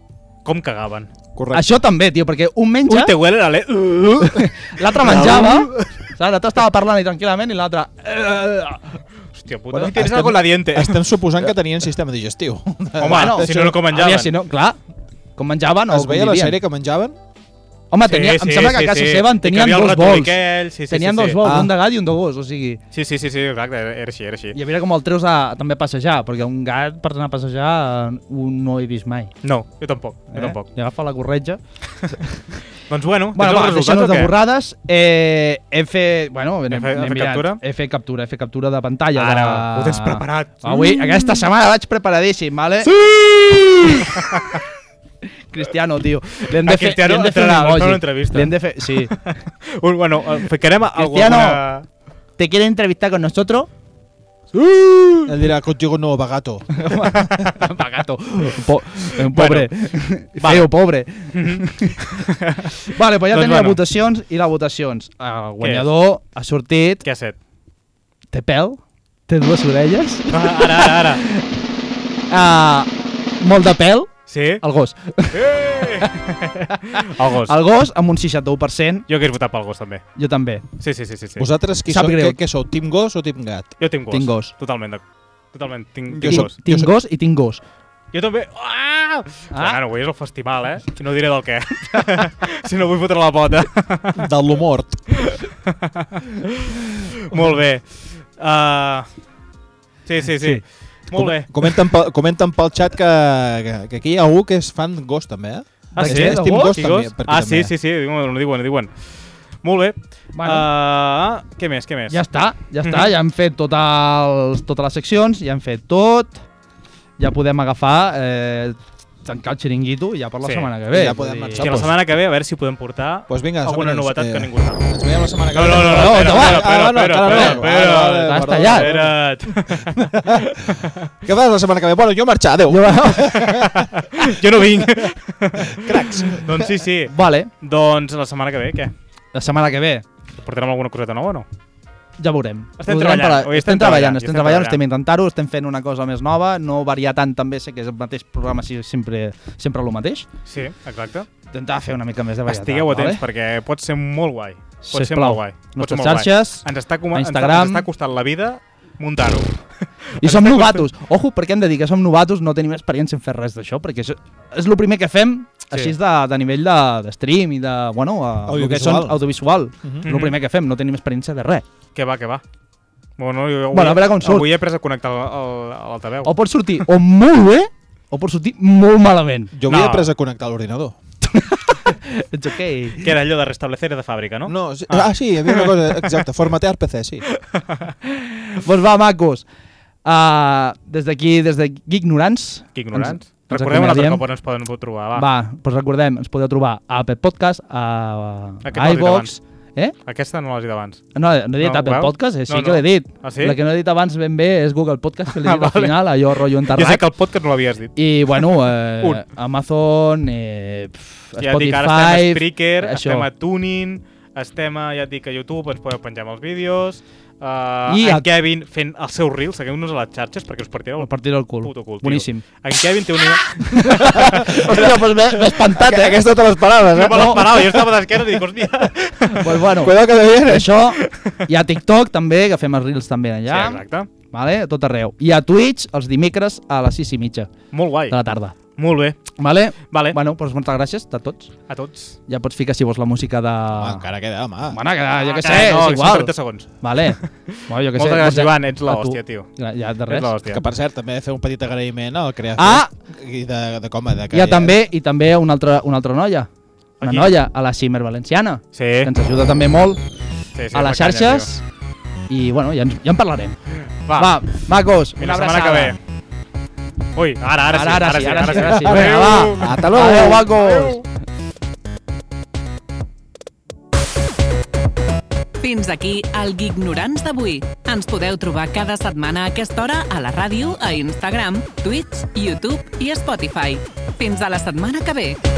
Speaker 3: Com cagaven.
Speaker 4: Correcte.
Speaker 2: això també, tio, perquè un menja,
Speaker 3: Ui, te huele la le...
Speaker 2: l'altre menjava, saps? l'altre estava parlant i tranquil·lament i l'altre... "Eh,
Speaker 3: Hòstia puta.
Speaker 4: Bueno,
Speaker 3: Bueno, tens
Speaker 4: estem-
Speaker 3: algo en la diente.
Speaker 4: Estem suposant que tenien sistema digestiu.
Speaker 3: Home, Ah, si no, no com menjaven.
Speaker 2: Havia, si no, clar, com menjaven o
Speaker 4: Es
Speaker 2: com
Speaker 4: veia la
Speaker 2: vivien.
Speaker 4: sèrie que menjaven?
Speaker 2: Home, tenia, em sembla que a casa seva en
Speaker 3: I que
Speaker 2: tenien
Speaker 3: havia el
Speaker 2: dos
Speaker 3: ratolí
Speaker 2: vols.
Speaker 3: aquell, Sí, sí,
Speaker 2: tenien
Speaker 3: sí,
Speaker 2: dos
Speaker 3: sí.
Speaker 2: vols,
Speaker 4: Ah.
Speaker 2: un de gat i un de gos, o sigui...
Speaker 3: Sí, sí, sí, sí, exacte, era era així, era així.
Speaker 2: I a veure com el treus a, també a passejar, perquè un gat per anar a passejar eh, un no he vist mai.
Speaker 3: No, jo tampoc,
Speaker 2: Eh?
Speaker 3: jo tampoc.
Speaker 2: Li agafa la corretja.
Speaker 3: Doncs bueno,
Speaker 2: Bueno, va,
Speaker 3: tens els resultats
Speaker 2: deixem-nos
Speaker 3: o
Speaker 2: de
Speaker 3: què?
Speaker 2: borrades. Eh, he fet... Bueno, anem,
Speaker 3: He fet- he
Speaker 2: anem
Speaker 3: fet
Speaker 2: mirant.
Speaker 3: captura?
Speaker 2: He fet captura, he fet captura de pantalla.
Speaker 3: Ara,
Speaker 2: de...
Speaker 3: ho tens preparat.
Speaker 2: Avui, aquesta setmana vaig preparadíssim, vale? Sí! Cristiano, tio. Li hem
Speaker 3: A
Speaker 2: de fer,
Speaker 3: Cristiano
Speaker 2: li hem de fer un
Speaker 3: entrarà, ens fa
Speaker 2: emoji.
Speaker 3: una entrevista.
Speaker 2: Li hem de fer... Sí.
Speaker 3: Un, bueno, eh, ficarem
Speaker 2: Cristiano.
Speaker 3: alguna...
Speaker 2: ¿Te quiere entrevistar con nosotros?
Speaker 4: Ell dirà, contigo no, bagato.
Speaker 2: Pagato. Po un pobre. Feo, pobre. vale, pues ja doncs tenia
Speaker 3: Doncs bueno.
Speaker 2: bueno. votacions i les votacions. El Ah, guanyador ha sortit...
Speaker 3: Què ha set?
Speaker 2: Té pèl, té dues orelles,
Speaker 3: Ah, Ara, ara, ara.
Speaker 2: uh, molt de pèl,
Speaker 3: Sí?
Speaker 2: el gos.
Speaker 3: Eh! El gos.
Speaker 2: El gos amb un 61%,
Speaker 3: Jo hauria votat pel gos, també.
Speaker 2: jo també.
Speaker 3: Sí, sí, sí, sí. sí.
Speaker 4: Vosaltres qui
Speaker 2: Sap
Speaker 4: sou?
Speaker 2: greu.
Speaker 4: Què, què sou? Team gos o team gat?
Speaker 3: Jo tinc gos.
Speaker 2: Tinc gos.
Speaker 3: Totalment. d'ac- Totalment, tinc,
Speaker 4: Jo
Speaker 3: tinc
Speaker 4: sóc-
Speaker 3: gos.
Speaker 2: Tinc
Speaker 4: sé-
Speaker 2: gos i tinc gos.
Speaker 3: Jo també... Ah! ah. Bueno, avui és el festival, eh? I no diré del què. si no vull fotre la pota.
Speaker 4: De l'humor.
Speaker 3: Molt bé. Uh... Sí, sí, sí,
Speaker 2: Sí.
Speaker 3: sí. Molt bé.
Speaker 4: Comenten pel, comenten pel xat que, que, que aquí hi ha algú que és fan gos també, eh?
Speaker 3: Ah,
Speaker 2: De
Speaker 3: sí?
Speaker 2: què?
Speaker 4: És
Speaker 2: De
Speaker 4: team
Speaker 2: gos?
Speaker 4: gos,
Speaker 3: I
Speaker 4: també. per aquí
Speaker 3: Ah,
Speaker 4: també.
Speaker 3: sí, sí, sí, diuen, ho diuen, ho diuen. Molt bé.
Speaker 2: Bueno.
Speaker 3: Ah, què més, què més?
Speaker 2: Ja està, ja està, ja hem fet tot els, totes les seccions, ja hem fet tot, ja podem agafar, eh, tancar el xiringuito i ja per la
Speaker 3: Sí,
Speaker 2: setmana que ve.
Speaker 4: ja
Speaker 2: és a
Speaker 4: podem
Speaker 2: dir-
Speaker 4: marxar.
Speaker 3: Hòstia, la setmana que ve a veure si podem portar
Speaker 4: Pues vinga,
Speaker 3: alguna
Speaker 4: senyores,
Speaker 3: novetat
Speaker 4: eh,
Speaker 3: que ningú sap.
Speaker 4: Ens veiem la setmana que
Speaker 3: No, no, no, no,
Speaker 2: No,
Speaker 3: espera,
Speaker 2: endavant.
Speaker 3: espera,
Speaker 4: Ah, no,
Speaker 3: espera,
Speaker 4: encara
Speaker 3: espera,
Speaker 4: no.
Speaker 3: espera,
Speaker 4: Ah, vale,
Speaker 2: T'has
Speaker 4: perdó.
Speaker 2: tallat.
Speaker 4: Què fas la setmana que ve? Bueno, jo marxar, adeu.
Speaker 3: Espera't. Jo no vinc. Cracs. doncs sí, sí.
Speaker 2: Vale,
Speaker 3: Doncs la setmana que ve, què?
Speaker 2: la setmana que ve
Speaker 3: Portarem alguna coseta nova o no?
Speaker 2: ja veurem.
Speaker 3: Estem
Speaker 2: Ho
Speaker 3: treballant,
Speaker 2: direm per
Speaker 3: avui estem
Speaker 2: estem treballant,
Speaker 3: treballant,
Speaker 2: estem
Speaker 3: estem
Speaker 2: treballant,
Speaker 3: treballant.
Speaker 2: estem intentant-ho, estem fent una cosa més nova, no variar tant també, sé que és el mateix programa, sí, sempre, sempre el mateix.
Speaker 3: Sí, exacte.
Speaker 2: Intentar fer una mica més de varietat.
Speaker 3: Estigueu atents
Speaker 2: vale?
Speaker 3: perquè pot ser molt guai. Pot ser
Speaker 2: Sisplau,
Speaker 3: molt guai. Pot
Speaker 2: nostres
Speaker 3: ser molt guai.
Speaker 2: xarxes,
Speaker 3: ens està, com-
Speaker 2: a
Speaker 3: ens, està,
Speaker 2: Instagram.
Speaker 3: ens està costant la vida muntar-ho.
Speaker 2: I som novatos. Ojo, perquè hem de dir que som novatos, no tenim experiència en fer res d'això, perquè això és el primer que fem així de, de nivell de, de stream i de, bueno, a, el que són
Speaker 4: Audiovisual.
Speaker 2: audiovisual. Uh
Speaker 3: Mhm.
Speaker 2: -huh. El primer que fem, no tenim experiència de res.
Speaker 3: Que va, que va. Bueno, jo, avui,
Speaker 2: Bueno, a veure com surt.
Speaker 3: Avui he après a connectar el- el- a l'altaveu.
Speaker 2: O pot sortir o molt bé, o pot sortir molt malament.
Speaker 4: Jo havia
Speaker 3: No.
Speaker 4: après a connectar l'ordinador.
Speaker 2: It's okay.
Speaker 3: Que era allò de restablecer de fàbrica, no?
Speaker 4: No, sí, ah. sí, hi havia una cosa, exacte, formatear PC, sí.
Speaker 2: Doncs va, macos. Uh, des d'aquí, des de Ignorants.
Speaker 3: Que ignorants.
Speaker 2: Ens, ens
Speaker 3: Recordem un altre
Speaker 2: acomiadem.
Speaker 3: cop on ens poden trobar, va.
Speaker 2: Va, doncs recordem, ens podeu trobar a Apple Podcast, a,
Speaker 3: Aquest
Speaker 2: a
Speaker 3: l'has dit
Speaker 2: iVox... Eh?
Speaker 3: Aquesta no l'has dit abans.
Speaker 2: No, no he dit
Speaker 3: No,
Speaker 2: no, Apple
Speaker 3: vau?
Speaker 2: Podcast, eh? sí no,
Speaker 3: No, no.
Speaker 2: que l'he dit.
Speaker 3: Ah, sí?
Speaker 2: La que no he dit abans ben bé és Google Podcast, que l'he
Speaker 3: Ah,
Speaker 2: dit ah, al
Speaker 3: vale.
Speaker 2: final, allò rotllo
Speaker 3: Jo sé
Speaker 2: enterrat.
Speaker 3: que el podcast no l'havies dit.
Speaker 2: I, bueno, eh,
Speaker 3: Un.
Speaker 2: Amazon, eh, pff,
Speaker 3: Ja et
Speaker 2: Spotify...
Speaker 3: dic, ara estem a Spreaker,
Speaker 2: això.
Speaker 3: estem a Tuning, estem a, ja et dic, a YouTube, ens podeu penjar amb els vídeos, uh,
Speaker 2: I
Speaker 3: en
Speaker 2: a-
Speaker 3: Kevin fent el seu reel, segueu-nos a les xarxes perquè us partireu
Speaker 2: El
Speaker 3: el
Speaker 2: partit del cul.
Speaker 3: puto cul, tio.
Speaker 2: Boníssim.
Speaker 3: En Kevin té una...
Speaker 2: Hòstia, doncs m'he m'he espantat, eh?
Speaker 4: Aquesta te l'esperaves,
Speaker 3: No
Speaker 4: eh?
Speaker 3: me l'esperava, jo estava d'esquena i dic, hòstia...
Speaker 2: Pues Doncs bueno,
Speaker 4: Cuidado que te
Speaker 3: eh?
Speaker 4: viene.
Speaker 2: això, hi ha TikTok també, que fem els reels també allà,
Speaker 3: Sí, exacte.
Speaker 2: vale? a tot arreu. I a Twitch els dimecres a les 6 i mitja
Speaker 3: Molt guai.
Speaker 2: de la tarda.
Speaker 3: Molt bé.
Speaker 2: Vale?
Speaker 3: Vale.
Speaker 2: Bueno, doncs moltes gràcies a tots.
Speaker 3: A tots.
Speaker 2: Ja pots ficar, si vols, la música de...
Speaker 4: Ah, encara queda, home.
Speaker 2: Bueno, que, jo
Speaker 3: Ah,
Speaker 2: què
Speaker 3: que
Speaker 2: sé,
Speaker 3: no,
Speaker 2: és
Speaker 3: que són
Speaker 2: igual.
Speaker 3: 30 segons.
Speaker 2: Vale. Bueno, jo què sé.
Speaker 3: Moltes gràcies,
Speaker 2: doncs ja-
Speaker 3: Joan, ets
Speaker 2: a
Speaker 3: la
Speaker 2: tu.
Speaker 3: hòstia, tio.
Speaker 2: Gra- Ja, de
Speaker 3: Res.
Speaker 2: res.
Speaker 3: És l'hòstia.
Speaker 4: Que per cert, també fer un petit agraïment al creador
Speaker 2: Ah!
Speaker 4: i de, de com de
Speaker 2: I, a també, I també una altra, una altra noia. Una
Speaker 3: Aquí. Eh.
Speaker 2: noia, a la Cimer Valenciana,
Speaker 3: Sí,
Speaker 2: que ens ajuda també molt
Speaker 3: sí, sí,
Speaker 2: a les
Speaker 3: la canya,
Speaker 2: xarxes. I, bueno, ja, ens, ja en parlarem.
Speaker 3: tio.
Speaker 2: Va, macos,
Speaker 3: I
Speaker 2: una
Speaker 3: la setmana
Speaker 2: abraçada.
Speaker 3: que ve. Ui, ara, ara,
Speaker 2: Ara, ara
Speaker 3: sí,
Speaker 2: sí, ara sí, ara sí.
Speaker 3: Adéu.
Speaker 2: Vinga, va. Hasta luego. Adéu, macos.
Speaker 1: Fins aquí el Gignorants d'avui. Ens podeu trobar cada setmana a aquesta hora a la ràdio, a Instagram, Twitch, YouTube i Spotify. Fins a la setmana que ve.